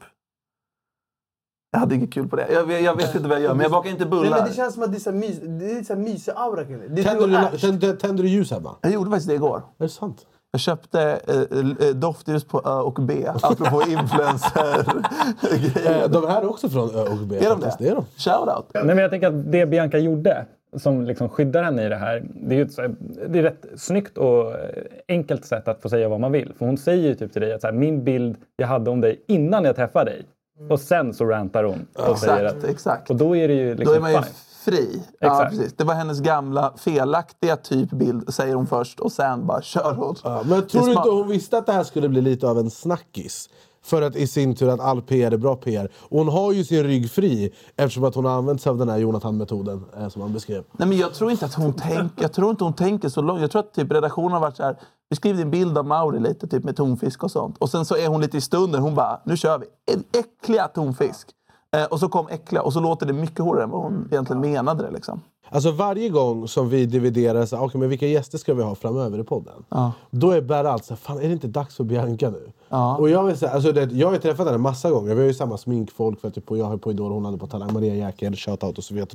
Speaker 2: Jag hade inget kul på det. Jag, vet- jag vet inte vad jag gör, men jag bakar inte
Speaker 1: Nej, men
Speaker 2: bullar.
Speaker 1: det känns som att det är så här mys- det är så här mysig-aura kring dig. Det är
Speaker 3: Tänder
Speaker 1: du och
Speaker 3: du,
Speaker 1: Ash.
Speaker 3: tänder, tänder du ljus hemma?
Speaker 2: Jag gjorde faktiskt det igår.
Speaker 3: Är det sant?
Speaker 2: Jag köpte eh, eh, doftljus på Ö och B, apropå influencer.
Speaker 3: Eh, De här är också från Ö och B.
Speaker 2: Är de
Speaker 3: faktiskt.
Speaker 2: det?
Speaker 3: är de.
Speaker 2: Shoutout!
Speaker 4: Nej, men jag tänker att det Bianca gjorde som liksom skyddar henne i det här. Det är ju ett, så här- det är rätt snyggt och eh, enkelt sätt att få säga vad man vill. För hon säger ju typ till dig att så här, min bild jag hade om dig innan jag träffade dig. Och sen så rantar hon. Och
Speaker 2: Ja.
Speaker 4: säger
Speaker 2: Mm. Exakt,
Speaker 4: att,
Speaker 2: exakt.
Speaker 4: Och då är det ju
Speaker 2: Då
Speaker 4: liksom
Speaker 2: är man ju
Speaker 4: fine.
Speaker 2: fri. Ja,
Speaker 4: Exakt.
Speaker 2: precis. Det var hennes gamla felaktiga typ bild, säger hon först. Och sen bara kör hon.
Speaker 3: Men tror
Speaker 2: Det
Speaker 3: du
Speaker 2: är
Speaker 3: inte
Speaker 2: smart.
Speaker 3: hon visste att det här skulle bli lite av en snackis? För att i sin tur att all PR är bra PR. Och hon har ju sin rygg fri eftersom att hon har använt sig av den här Jonathan-metoden eh, som han beskrev.
Speaker 2: Nej, men jag tror inte att hon tänker. Jag tror inte hon tänker så långt. Jag tror att typ redaktionen har varit så här. Beskriv din bild av Mauri lite, typ med tonfisk och sånt. Och sen så är hon lite i stunden. Hon bara, nu kör vi. En äckliga tonfisk. Eh, och så kom äckliga och så låter det mycket hårdare än vad
Speaker 3: Mm.
Speaker 2: hon egentligen menade det. Liksom.
Speaker 3: Alltså varje gång som vi dividerar så här, "Okej, men vilka gäster ska vi ha framöver i podden.
Speaker 2: Ja.
Speaker 3: Då är Berra alltid såhär, fan är det inte dags för Bianca nu? Och jag, vill säga, alltså det, jag har ju träffat henne massa gånger, vi har ju samma sminkfolk, för typ, jag höll på Idol, hon hade på Talang, Maria Jäkel, shoutout och så vidare.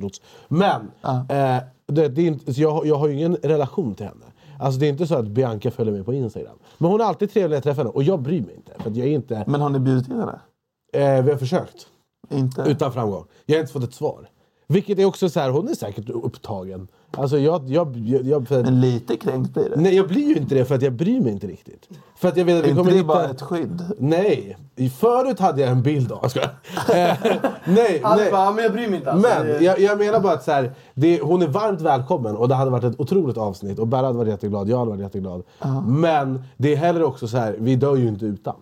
Speaker 3: Men! Eh, det, det är inte, så jag, jag har ju ingen relation till henne. Alltså det är inte så att Bianca följer mig på Instagram. Men hon är alltid trevlig när jag träffar henne och jag bryr mig inte. För att jag är inte
Speaker 2: Men har ni bjudit in henne?
Speaker 3: Eh, vi har försökt.
Speaker 2: Inte.
Speaker 3: Utan framgång. Jag har inte fått ett svar. Vilket är också så här, hon är säkert upptagen. Alltså jag, jag, jag, jag, för...
Speaker 2: Men lite kränkt blir det.
Speaker 3: Nej, jag blir ju inte det för att jag bryr mig inte riktigt. För att jag vet att vi
Speaker 2: Är inte
Speaker 3: kommer
Speaker 2: det
Speaker 3: hitta...
Speaker 2: bara ett skydd?
Speaker 3: Nej! I- Förut hade jag en bild av... Jag skojar. Eh, nej,
Speaker 1: Allt
Speaker 3: nej.
Speaker 1: bara, men jag bryr mig inte. Alltså.
Speaker 3: Men
Speaker 1: Det-
Speaker 3: jag, jag menar bara att så här, det, hon är varmt välkommen och det hade varit ett otroligt avsnitt. Och Berra hade varit jätteglad, jag hade varit jätteglad. Men det är heller också så här, vi dör ju inte utan.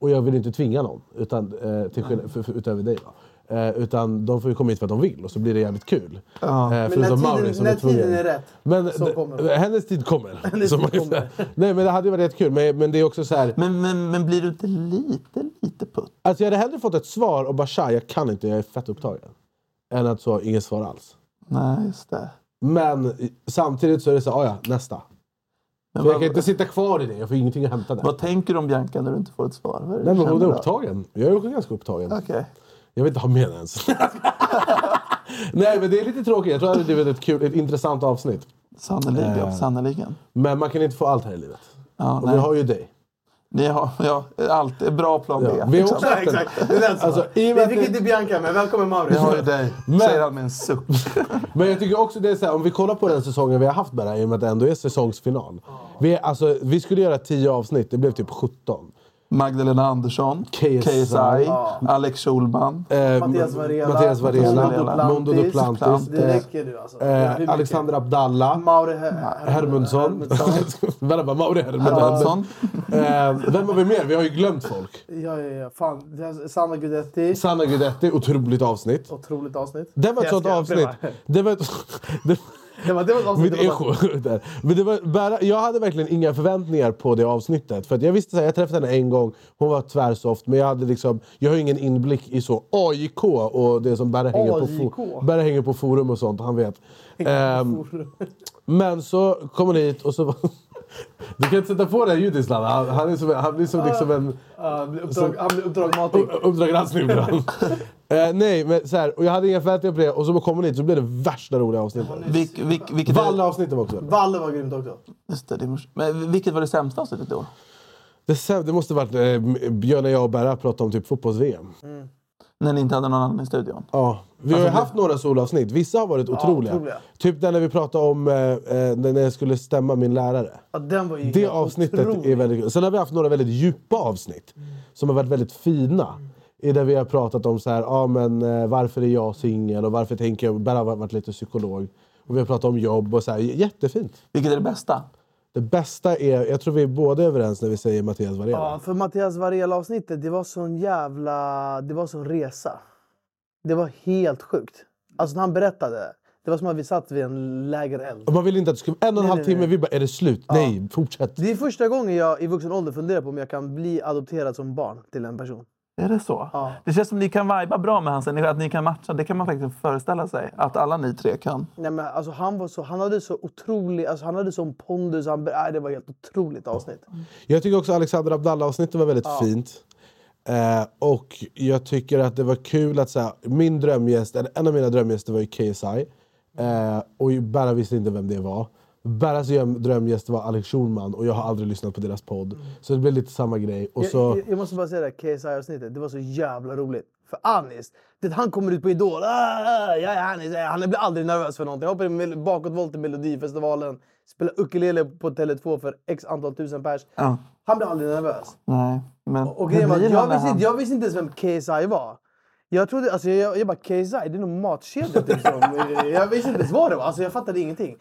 Speaker 3: Och jag vill inte tvinga någon utan, eh, till, skillnad- för, för, utöver dig. Då. Eh, utan de får ju komma hit för att de vill och så blir det jävligt kul. Eh,
Speaker 1: Men
Speaker 3: förutom
Speaker 1: när tiden-
Speaker 3: Mauri som
Speaker 1: när
Speaker 3: tvungen. Eh,
Speaker 1: tiden är rätt
Speaker 3: men,
Speaker 1: så
Speaker 3: d-
Speaker 1: kommer hon.
Speaker 3: Hennes tid kommer.
Speaker 1: Hennes
Speaker 3: som
Speaker 1: tid
Speaker 3: man-
Speaker 1: kommer.
Speaker 3: Nej men det hade ju varit jättekul. Men, men det är också så här,
Speaker 2: Men, men, men blir du inte lite...
Speaker 3: Alltså jag hade hellre fått ett svar och bara tja, jag kan inte, jag är fett upptagen. Än att så, inget svar alls.
Speaker 2: Nej, just det.
Speaker 3: Men i- samtidigt så är det så, "Ah, ja, nästa.
Speaker 2: Men
Speaker 3: För jag
Speaker 2: vad-
Speaker 3: kan inte sitta kvar i det, jag får ingenting att hämta där.
Speaker 2: Vad tänker du om Bianca när du inte får ett svar? Vad är det
Speaker 3: Nej
Speaker 2: du
Speaker 3: men hon är
Speaker 2: känner då?
Speaker 3: upptagen. Jag är också ganska upptagen.
Speaker 2: Okej.
Speaker 3: Jag vill inte ha med henne ens. Nej men det är lite tråkigt, jag tror att det hade blivit ett kul, ett intressant avsnitt.
Speaker 2: Sannoliken.
Speaker 3: Eh.
Speaker 2: sannoliken.
Speaker 3: Men man kan inte få allt här i livet.
Speaker 2: Ja,
Speaker 3: och
Speaker 2: nej.
Speaker 3: vi har ju dig.
Speaker 2: Ni har, ja, allt är bra plan B.
Speaker 3: Ja, vi har också
Speaker 2: Exakt.
Speaker 3: haft en-
Speaker 1: Exakt. Det är den som
Speaker 3: Alltså,
Speaker 1: var.
Speaker 3: i och med
Speaker 1: Vi
Speaker 3: att
Speaker 1: fick
Speaker 3: det-
Speaker 1: inte Bianca, men välkommen Mauri.
Speaker 2: Vi har ju dig,
Speaker 3: Men-
Speaker 2: säger han med en suck.
Speaker 3: Men jag tycker också det är så här, om vi kollar på den säsongen vi har haft med det här, i och med att det ändå är säsongsfinal. Vi, är- alltså, vi skulle göra 10 avsnitt, det blev typ 17.
Speaker 2: Magdalena Andersson, KSI,
Speaker 3: Ja.
Speaker 2: Alex Schulman.
Speaker 3: Eh,
Speaker 1: Mattias Varela.
Speaker 3: Mattias Varela.
Speaker 1: Mondo
Speaker 3: Mondo
Speaker 1: Duplantis.
Speaker 3: Duplantis.
Speaker 1: Det räcker nu, alltså. Det är hur
Speaker 3: Eh,
Speaker 1: mycket?
Speaker 3: Alexander Abdallah.
Speaker 1: Mauri
Speaker 3: Hermundsson. Vänta bara, Mauri Hermundsson.
Speaker 1: Hermundsson.
Speaker 3: Eh, Vem har vi mer? Vi har ju glömt folk.
Speaker 1: Ja, ja, ja. Fan. Det här- Sanna Gudetti.
Speaker 3: Sanna Guidetti, otroligt avsnitt.
Speaker 1: Otroligt avsnitt.
Speaker 3: Det var ett
Speaker 1: Jag
Speaker 3: sånt
Speaker 1: ska-
Speaker 3: avsnitt. Det var ett... det-
Speaker 1: Det var, det var ett avsnitt.
Speaker 3: Mitt
Speaker 1: Alltså, det var ett
Speaker 3: eko. där. Men det var bara, jag hade verkligen inga förväntningar på det avsnittet. För att jag visste att jag träffade henne en gång, hon var tvärsoft. Men jag, hade liksom, jag har ingen inblick i så AIK och det som Berra hänger, på, fo-
Speaker 1: AIK?
Speaker 3: Berra hänger på forum och sånt. Han vet. Ehm,
Speaker 1: avsnitt.
Speaker 3: men så kom hon hit och så var, Du kan inte sätta på det här ljudet Zlatan. Han, han, är som, han blir som liksom en...
Speaker 1: Han blir uppdrag- han blir uppdrag matig.
Speaker 3: Uppdrag granskning blir han. Eh, nej, men så här, och jag hade inga förväntningar på det och så kommer ni hit så blev det värsta roliga avsnittet.
Speaker 2: Vilk, vilk, vilket
Speaker 3: Valle-avsnittet var också.
Speaker 1: Valle var grymt också.
Speaker 2: Just det, det är mors- men vilket var det sämsta avsnittet i år?
Speaker 3: Det, säm- det måste varit eh, Björn och jag och Berra pratade om typ fotbolls-VM.
Speaker 2: När ni inte hade någon annan i studion?
Speaker 3: Ja. Vi har ju haft några solavsnitt. Vissa har varit
Speaker 2: Ja,
Speaker 3: otroliga.
Speaker 2: otroliga.
Speaker 3: Typ den när vi pratade om eh, eh, när jag skulle stämma min lärare.
Speaker 1: Ja, den var ju
Speaker 3: Det
Speaker 1: helt
Speaker 3: avsnittet
Speaker 1: otrolig.
Speaker 3: är väldigt kul. Sen har vi haft några väldigt djupa avsnitt som har varit väldigt fina. I där vi har pratat om så här, ah, men, eh, varför är jag singel och varför tänker jag... Berra har varit lite psykolog. Och vi har pratat om jobb och så här. j- Jättefint.
Speaker 2: Vilket är det bästa?
Speaker 3: Det bästa är... Jag tror vi är båda överens när vi säger Mattias Varela.
Speaker 1: Ja, för Mattias Varela-avsnittet, det var sån jävla... Det var sån resa. Det var helt sjukt. Alltså när han berättade, det var som att vi satt vid en lägereld.
Speaker 3: Och Man vill inte att det skulle... En och en
Speaker 1: Nej,
Speaker 3: halv
Speaker 1: nej,
Speaker 3: timme,
Speaker 1: nej.
Speaker 3: vi bara är det slut? Nej, fortsätt.
Speaker 1: Det är första gången jag i vuxen ålder funderar på om jag kan bli adopterad som barn till en person.
Speaker 2: Är det så?
Speaker 1: Ja.
Speaker 2: Det känns som ni kan viba bra med hans energi, att ni kan matcha. Det kan man faktiskt föreställa sig att alla ni tre kan.
Speaker 1: Nej, men alltså, han, var så, han hade så otrolig... Alltså, han hade sån pondus. Han, nej, det var ett helt otroligt avsnitt.
Speaker 3: Jag tycker också Alexander Abdallah-avsnittet var väldigt
Speaker 1: Ja.
Speaker 3: fint. Eh, och jag tycker att det var kul att så här, min drömgäst, eller en av mina drömgäster var ju KSI. Eh, och Berra visste inte vem det var. Berras göm- drömgäst var Alex Schulman och jag har aldrig lyssnat på deras podd.
Speaker 1: Mm.
Speaker 3: Så det blev lite samma grej. Och så,
Speaker 1: jag, jag, jag måste bara säga det här KSI-avsnittet. Det var så jävla roligt. För Anis, det, han kommer ut på Idol. Ah, jag är Anis. jag är- Han blir aldrig nervös för någonting. Hoppar in mel- bakåtvolt i Melodifestivalen. Spelar ukulele på Tele2 för x antal tusen pers.
Speaker 2: Ja.
Speaker 1: Han blir aldrig nervös.
Speaker 2: Nej, men...
Speaker 1: Och grejen var,
Speaker 2: Det
Speaker 1: att
Speaker 2: blir
Speaker 1: jag,
Speaker 2: han när
Speaker 1: visste,
Speaker 2: han-
Speaker 1: inte- jag visste inte ens vem KSI var. Jag trodde, alltså jag, jag bara KSI, det är nog matkedja typ. Som, jag visste inte ens vad det var, alltså jag fattade ingenting.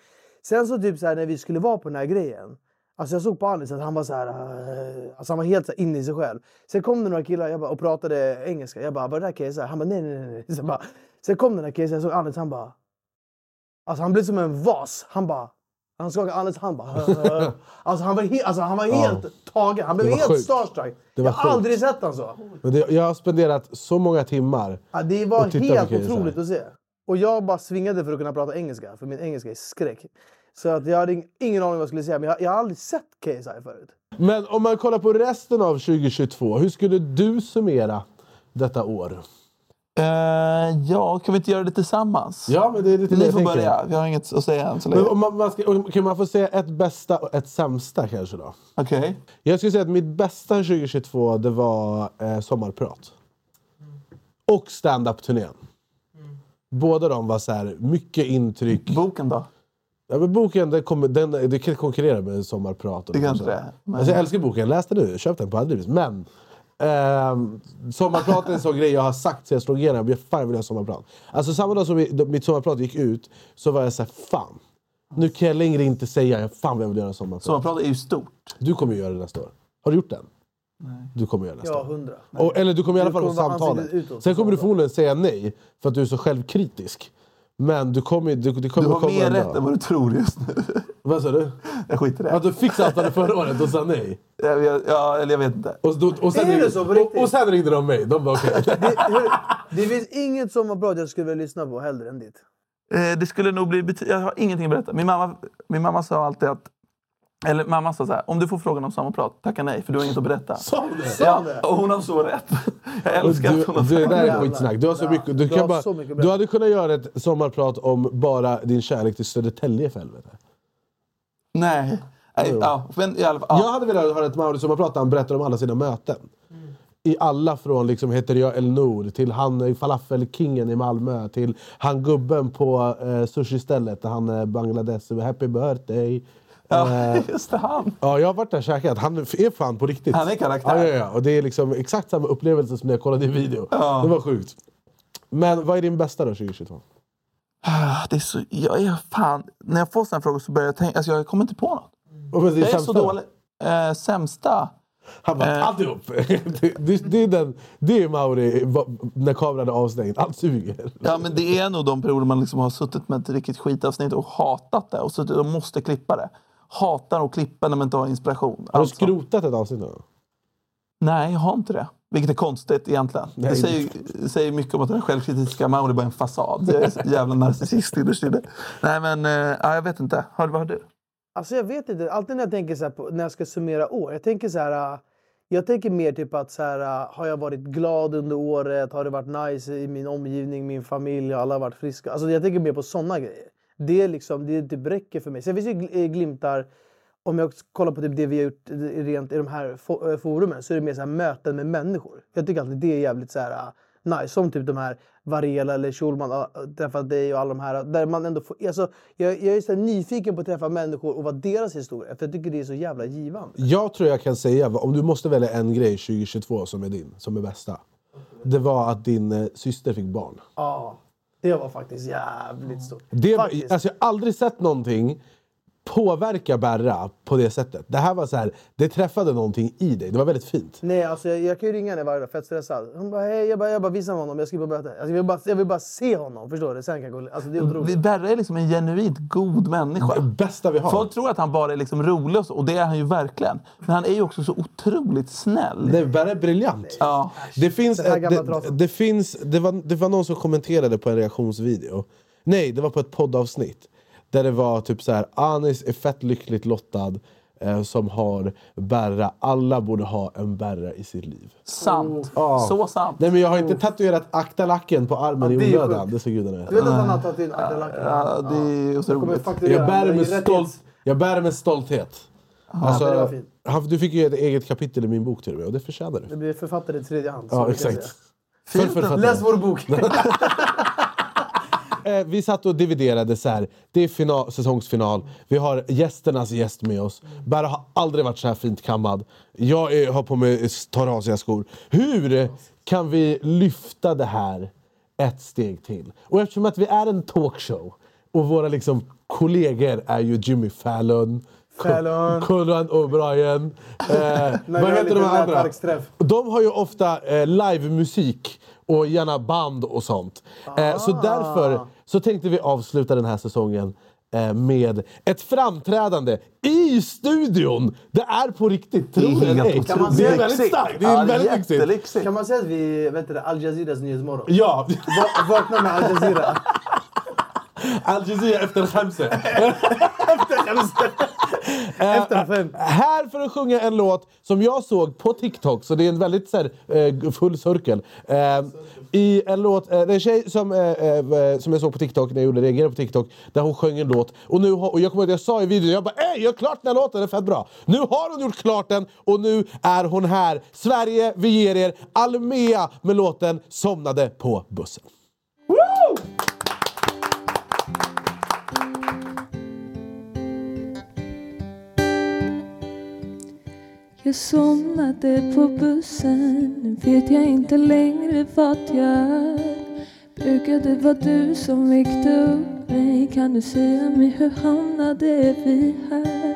Speaker 1: Sen så typ så här, när vi skulle vara på den här grejen. Alltså jag såg på Anis att han var så här, eh, alltså han var helt så här inne i sig själv. Sen kom det några killar jag bara, och pratade engelska. Jag bara, var det där KSI? Han bara, nej nej nej. nej. Så jag bara, sen kom den här KSI, jag såg Anis, han bara... Alltså han blev som en vas. Han bara... Han skakade Anis hand bara... eh. Alltså han var, he- alltså, han var
Speaker 3: Ja.
Speaker 1: helt tagen. Han blev
Speaker 3: Det var
Speaker 1: helt
Speaker 3: sjukt.
Speaker 1: starstruck.
Speaker 3: Det var
Speaker 1: jag har
Speaker 3: sjukt.
Speaker 1: aldrig sett han så.
Speaker 3: men det, jag har spenderat så många timmar.
Speaker 1: Ja, det var
Speaker 3: Och titta
Speaker 1: helt
Speaker 3: på KSI.
Speaker 1: otroligt att se. Och jag bara svingade för att kunna prata engelska, för min engelska är skräck. Så att jag hade ing- ingen aning vad jag skulle säga, men jag, jag har aldrig sett KSI förut.
Speaker 3: Men om man kollar på resten av 2022, hur skulle du summera detta år?
Speaker 2: Eh, ja, kan vi inte göra det tillsammans?
Speaker 3: Ja, men det är lite det
Speaker 2: Ni
Speaker 3: jag
Speaker 2: får
Speaker 3: tänker.
Speaker 2: börja. Vi har inget att säga än så länge.
Speaker 3: Men om man, man ska, om- kan man få säga ett bästa och ett sämsta kanske då?
Speaker 2: Okej.
Speaker 3: Jag skulle säga att mitt bästa 2022 det var eh, sommarprat. Och stand-up-turnén. Båda de var så här, mycket intryck.
Speaker 2: Boken då?
Speaker 3: Ja, men boken den kommer, den, det kan konkurrera med sommarprat. och
Speaker 2: Det
Speaker 3: de här
Speaker 2: kanske
Speaker 3: sakerna.
Speaker 2: det är, men-
Speaker 3: Alltså, jag älskar boken, läs den nu. Köp den på Adlibris. Men ehm, sommarprat är en sån grej jag har sagt till jag slog igenom. Jag fan vill ha sommarprat. Alltså samma dag som vi, då, mitt sommarprat gick ut så var jag så här, fan. Nu kan jag längre inte säga fan vad jag vill göra sommarprat.
Speaker 2: Sommarprat är ju stort.
Speaker 3: Du kommer göra det nästa år. Har du gjort den? Nej. Du kommer göra det nästa år.
Speaker 1: Ja, hundra.
Speaker 3: Och, eller du kommer i alla
Speaker 1: Du
Speaker 3: fall få
Speaker 1: kommer vara
Speaker 3: samtalet.
Speaker 1: ansiktet utåt. liksom.
Speaker 3: Sen kommer du förmodligen säga nej för att du är så självkritisk. Men du kommer, du, du kommer
Speaker 2: Du har
Speaker 3: komma
Speaker 2: mer
Speaker 3: en
Speaker 2: rätt
Speaker 3: dag.
Speaker 2: än vad du tror just nu.
Speaker 3: Vad sa du?
Speaker 2: Jag skiter i det.
Speaker 3: Att du fick samtalet förra året och sa nej?
Speaker 2: Jag vet- Ja, eller jag vet inte.
Speaker 3: Och, då, och, sen,
Speaker 1: Är det
Speaker 3: ringde,
Speaker 1: så på
Speaker 3: och, och sen ringde de mig. De bara okej.
Speaker 1: Det finns inget sommarprat jag skulle vilja lyssna på hellre än ditt.
Speaker 2: Eh, det skulle nog bli bety- Jag har ingenting att berätta. Min mamma, min mamma sa alltid att... Eller mamma sa så här, om du får frågan om sommarprat, tacka nej för du har inget att berätta.
Speaker 3: Sa hon det?
Speaker 2: Ja, och hon har så rätt. Jag
Speaker 3: Och
Speaker 2: älskar att hon
Speaker 3: Du,
Speaker 2: har
Speaker 3: du,
Speaker 2: sagt
Speaker 3: det där är skitsnack. Du har så mycket, du,
Speaker 2: Du
Speaker 3: kan
Speaker 2: har
Speaker 3: bara,
Speaker 2: så mycket
Speaker 3: du hade kunnat göra ett sommarprat om bara din kärlek till Södertälje för helvete.
Speaker 2: Nej. Nej, ja, men i alla fall,
Speaker 3: Jag hade velat höra ett Mauri-sommarprat där han berättar om alla sina möten. I alla från liksom, heter jag Elnor till han eh, falafelkingen i Malmö till han gubben på eh, sushi-stället där han eh, Bangladesh. Happy birthday!
Speaker 2: Ja,
Speaker 3: Eh,
Speaker 2: just det, han.
Speaker 3: Ja, jag har varit där och käkat. Han är fan på riktigt.
Speaker 2: Han är karaktär.
Speaker 3: Ja, ja, ja. Och det är liksom exakt samma upplevelse som när jag kollade i video.
Speaker 2: Ja.
Speaker 3: Det var sjukt. Men vad är din bästa då 2022?
Speaker 2: Ah, Det är så, jag är fan, när jag får sådana frågor så börjar jag tänka... Alltså jag kommer inte på något.
Speaker 3: Och vad är det
Speaker 2: jag är så
Speaker 3: sämsta då?
Speaker 2: dålig. Eh, sämsta?
Speaker 3: Han bara,
Speaker 2: Eh.
Speaker 3: alltihop! det, det, det är den, det är Mauri va- när kameran är avstängd. Allt suger.
Speaker 2: Ja, men det är nog de perioder man liksom har suttit med ett riktigt skitavsnitt och hatat det och suttit och måste klippa det. Hatar att klippa när man inte har inspiration.
Speaker 3: Har du
Speaker 2: Alltså-
Speaker 3: skrotat ett avsnitt nu?
Speaker 2: Nej, jag har inte det. Vilket är konstigt egentligen.
Speaker 3: Nej.
Speaker 2: Det säger, säger mycket om att den självkritiska Mauri bara är en fasad. Jag är så jävla narcissist innerst inne. Nej, men eh, ja, jag vet inte. Har, vad har du?
Speaker 1: Alltså jag vet inte. Alltid när jag tänker så här på, när jag ska summera år. Jag tänker så här. äh, Jag tänker mer typ att så här, äh, har jag varit glad under året? Har det varit nice i min omgivning, min familj? Har alla varit friska? Alltså jag tänker mer på sådana grejer. Det, är liksom, det typ räcker för mig. Sen finns det ju gl- eh, glimtar. Om jag kollar på typ det vi har gjort i- rent i de här fo- eh, forumen så är det mer så här möten med människor. Jag tycker alltid det är jävligt så här, äh, nice. Som typ de här Varela eller Schulman, äh, träffa dig och alla de här. ah, Där man ändå får, alltså, jag, jag är så här nyfiken på att träffa människor och vad deras historia är. För jag tycker det är så jävla givande.
Speaker 3: Jag tror jag kan säga, om du måste välja en grej 2022 som är din, som är bästa. Det var att din eh, syster fick barn.
Speaker 1: Ja, det var faktiskt jävligt stort.
Speaker 3: Det, var-
Speaker 1: Faktiskt.
Speaker 3: alltså, jag har aldrig sett någonting påverka Berra på det sättet. Det här var så här, det träffade någonting i dig. Det var väldigt fint.
Speaker 1: Nej, alltså jag, jag kan ju ringa henne varje dag, fett stressad. Hon bara, hej, jag bara, jag bara visar honom, jag ska på möte. Alltså, jag, vill bara, jag vill bara se honom, förstår du? Sen kan jag gå, alltså, det är otroligt.
Speaker 2: Berra är liksom en genuint god människa.
Speaker 3: bästa vi har.
Speaker 2: Folk tror att han bara är liksom rolig och, så, och det är han ju verkligen. Men han är ju också så otroligt snäll.
Speaker 3: Nej, Berra är briljant.
Speaker 2: Ja.
Speaker 3: Det finns,
Speaker 2: Den här
Speaker 3: ett-
Speaker 2: gamla
Speaker 3: det, det, finns det, var, det var någon som kommenterade på en reaktionsvideo. Nej, det var på ett poddavsnitt. Där det var typ så här, Anis är fett lyckligt lottad eh, som har Berra. Alla borde ha en Berra i sitt liv.
Speaker 1: Mm,
Speaker 2: Sant.
Speaker 3: Ja.
Speaker 2: Så sant.
Speaker 3: Nej, men jag har inte tatuerat aktalacken på armen
Speaker 2: Ja, det är
Speaker 3: i
Speaker 2: ju
Speaker 3: onödan. Det ska gudarna veta.
Speaker 1: Du vet att han har tagit in akalacken?
Speaker 2: Ja, det är ju så
Speaker 1: Jag kommer
Speaker 2: roligt.
Speaker 1: fakturera
Speaker 3: Jag bär, det
Speaker 1: honom.
Speaker 3: med
Speaker 1: Det är
Speaker 3: stolt, jag bär det med stolthet. Alltså,
Speaker 1: Ja, det var fint.
Speaker 3: han, du fick ju ett eget kapitel i min bok till och med och det förtjänar du.
Speaker 1: Det blir författare i tredje hand. så
Speaker 3: Ja,
Speaker 1: kan
Speaker 3: exakt.
Speaker 1: jag
Speaker 3: För
Speaker 1: säga.
Speaker 3: författaren.
Speaker 1: Läs vår bok.
Speaker 3: Eh, vi satt och dividerade så här. Det är final, säsongsfinal. Vi har gästernas gäst med oss. Berra har aldrig varit så här fint kammad. Jag är, har på mig tarasiga skor. Hur kan vi lyfta det här ett steg till? Och eftersom att vi är en talkshow och våra liksom kollegor är ju Jimmy Fallon, Ku-
Speaker 1: Fallon.
Speaker 3: Conan O'Brien. Eh,
Speaker 1: När
Speaker 3: vad
Speaker 1: vi har
Speaker 3: heter de
Speaker 1: lite
Speaker 3: andra?
Speaker 1: nätverksträff.
Speaker 3: De har ju ofta eh, livemusik och gärna band och sånt. Eh, så därför så tänkte vi avsluta den här säsongen eh, med ett framträdande i studion. Det är på riktigt, tror det eller ej.
Speaker 1: Kan man
Speaker 3: Det är
Speaker 1: säga-
Speaker 3: väldigt starkt. Det är väldigt lyxigt.
Speaker 1: Kan man säga att vi vet du, det, Al Jazeeras Nyhetsmorgon?
Speaker 3: Ja.
Speaker 1: Va- vakna med Al Jazeera.
Speaker 3: Al Jazeera efter Khamse. efter fem. Här för att sjunga en låt som jag såg på TikTok, så det är en väldigt så här, eh, full cirkel. Eh, I en låt, eh, det är en tjej som, eh, eh, som jag såg på TikTok, när jag gjorde reagerade på TikTok, där hon sjöng en låt. Och, nu har, och jag kommer ihåg att jag sa i videon, jag bara Ey, gör klart den här låten, den är fett bra! Nu har hon gjort klart den och nu är hon här. Sverige, vi ger er Almea med låten Somnade på bussen.
Speaker 16: Jag somnade på bussen, nu vet jag inte längre vad jag Brukar det vara du som väckte upp mig? Kan du säga mig hur hamnade vi här?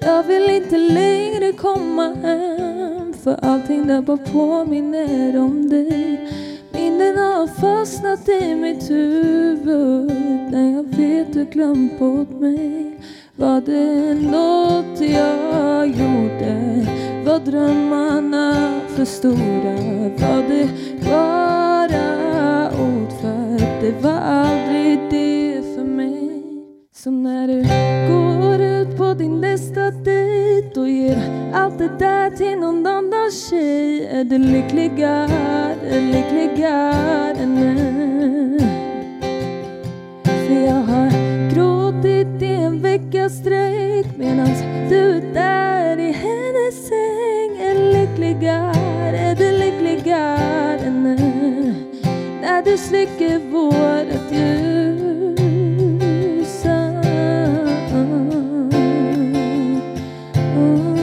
Speaker 16: Jag vill inte längre komma hem för allting där bara påminner om dig Minnena har fastnat i mitt huvud när jag vet du glömt bort mig Var det något jag gjorde? Var drömmarna för stora? Var det bara ord? För det var aldrig det för mig Som när du går ut på din nästa dejt och ger allt det där till någon annan tjej Är du lyckligare, lyckligare nu? För jag har gråtit i en vecka sträck medan du där i hennes säng är lyckligare, är du lyckligare nu? När du släcker vårt ljusa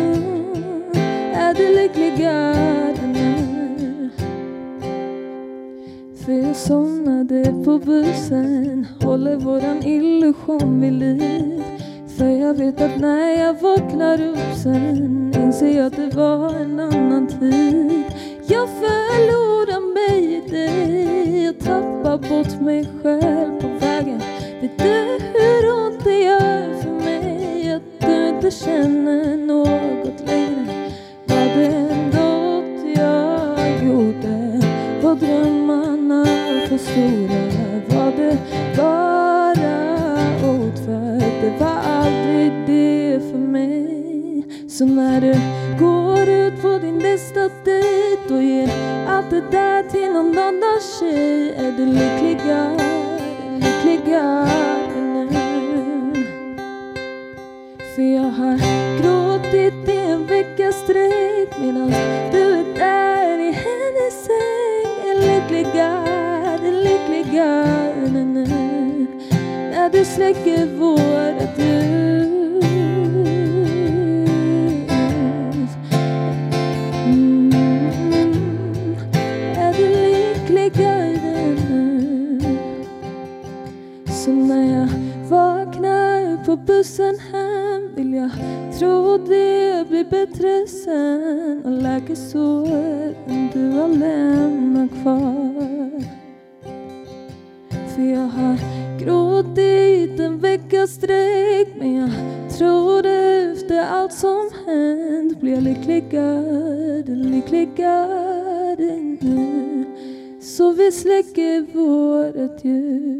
Speaker 16: Oh, Är du lyckligare nu? För jag somnade på bussen Håller våran illusion vid liv För jag vet att när jag vaknar upp sen Inser jag att det var en annan tid Jag förlorar mig i dig Jag tappar bort mig själv på vägen Vet du hur ont det gör för mig Att du inte känner något längre Var det något jag gjorde? Var drömmarna för stora? Var det bara ord? För det var aldrig det Så när du går ut på din nästa dejt och ger allt det där till någon annan tjej är du lyckligare, lyckligare nu. För jag har gråtit i en vecka strejk medan du är där i hennes säng Är lyckligare, lyckligare nu När du släcker våra ljus Mm, Är du lyckligare nu så när jag vaknar på bussen hem vill jag tro det blir bättre sen och läker såren du har lämnat kvar. För jag har gråtit en vecka sträck men jag tror efter allt som hänt blir jag lyckligare, lyckligare nu. Så vi släcker vårt ljus.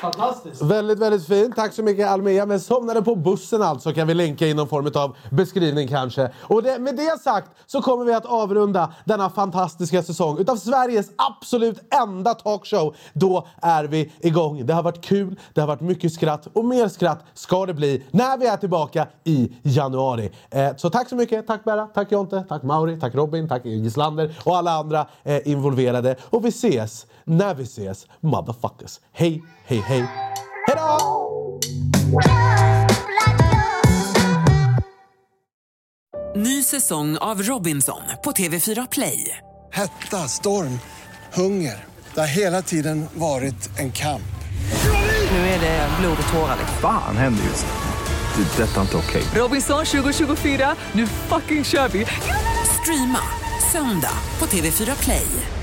Speaker 3: Fantastiskt. Väldigt, väldigt fint. Tack så mycket Almea. Men somnade på bussen alltså kan vi länka in någon form av beskrivning kanske. Och det, med det sagt så kommer vi att avrunda denna fantastiska säsong utav Sveriges absolut enda talkshow. Då är vi igång. Det har varit kul, det har varit mycket skratt och mer skratt ska det bli när vi är tillbaka i januari. Eh, så tack så mycket. Tack Berra, tack Jonte, tack Mauri, tack Robin, tack Gislander och alla andra eh, involverade. Och vi ses när vi ses, motherfuckers. Hej, hej, hej. Hej då!
Speaker 5: Ny säsong av Robinson på TV4 Play.
Speaker 6: Hetta, storm, hunger. Det har hela tiden varit en kamp.
Speaker 5: Nu är det blod och tårar. liksom.
Speaker 7: Fan händer just nu. Det. är Detta är inte okej.
Speaker 5: Robinson 2024, nu fucking kör vi! Streama söndag på TV4 Play.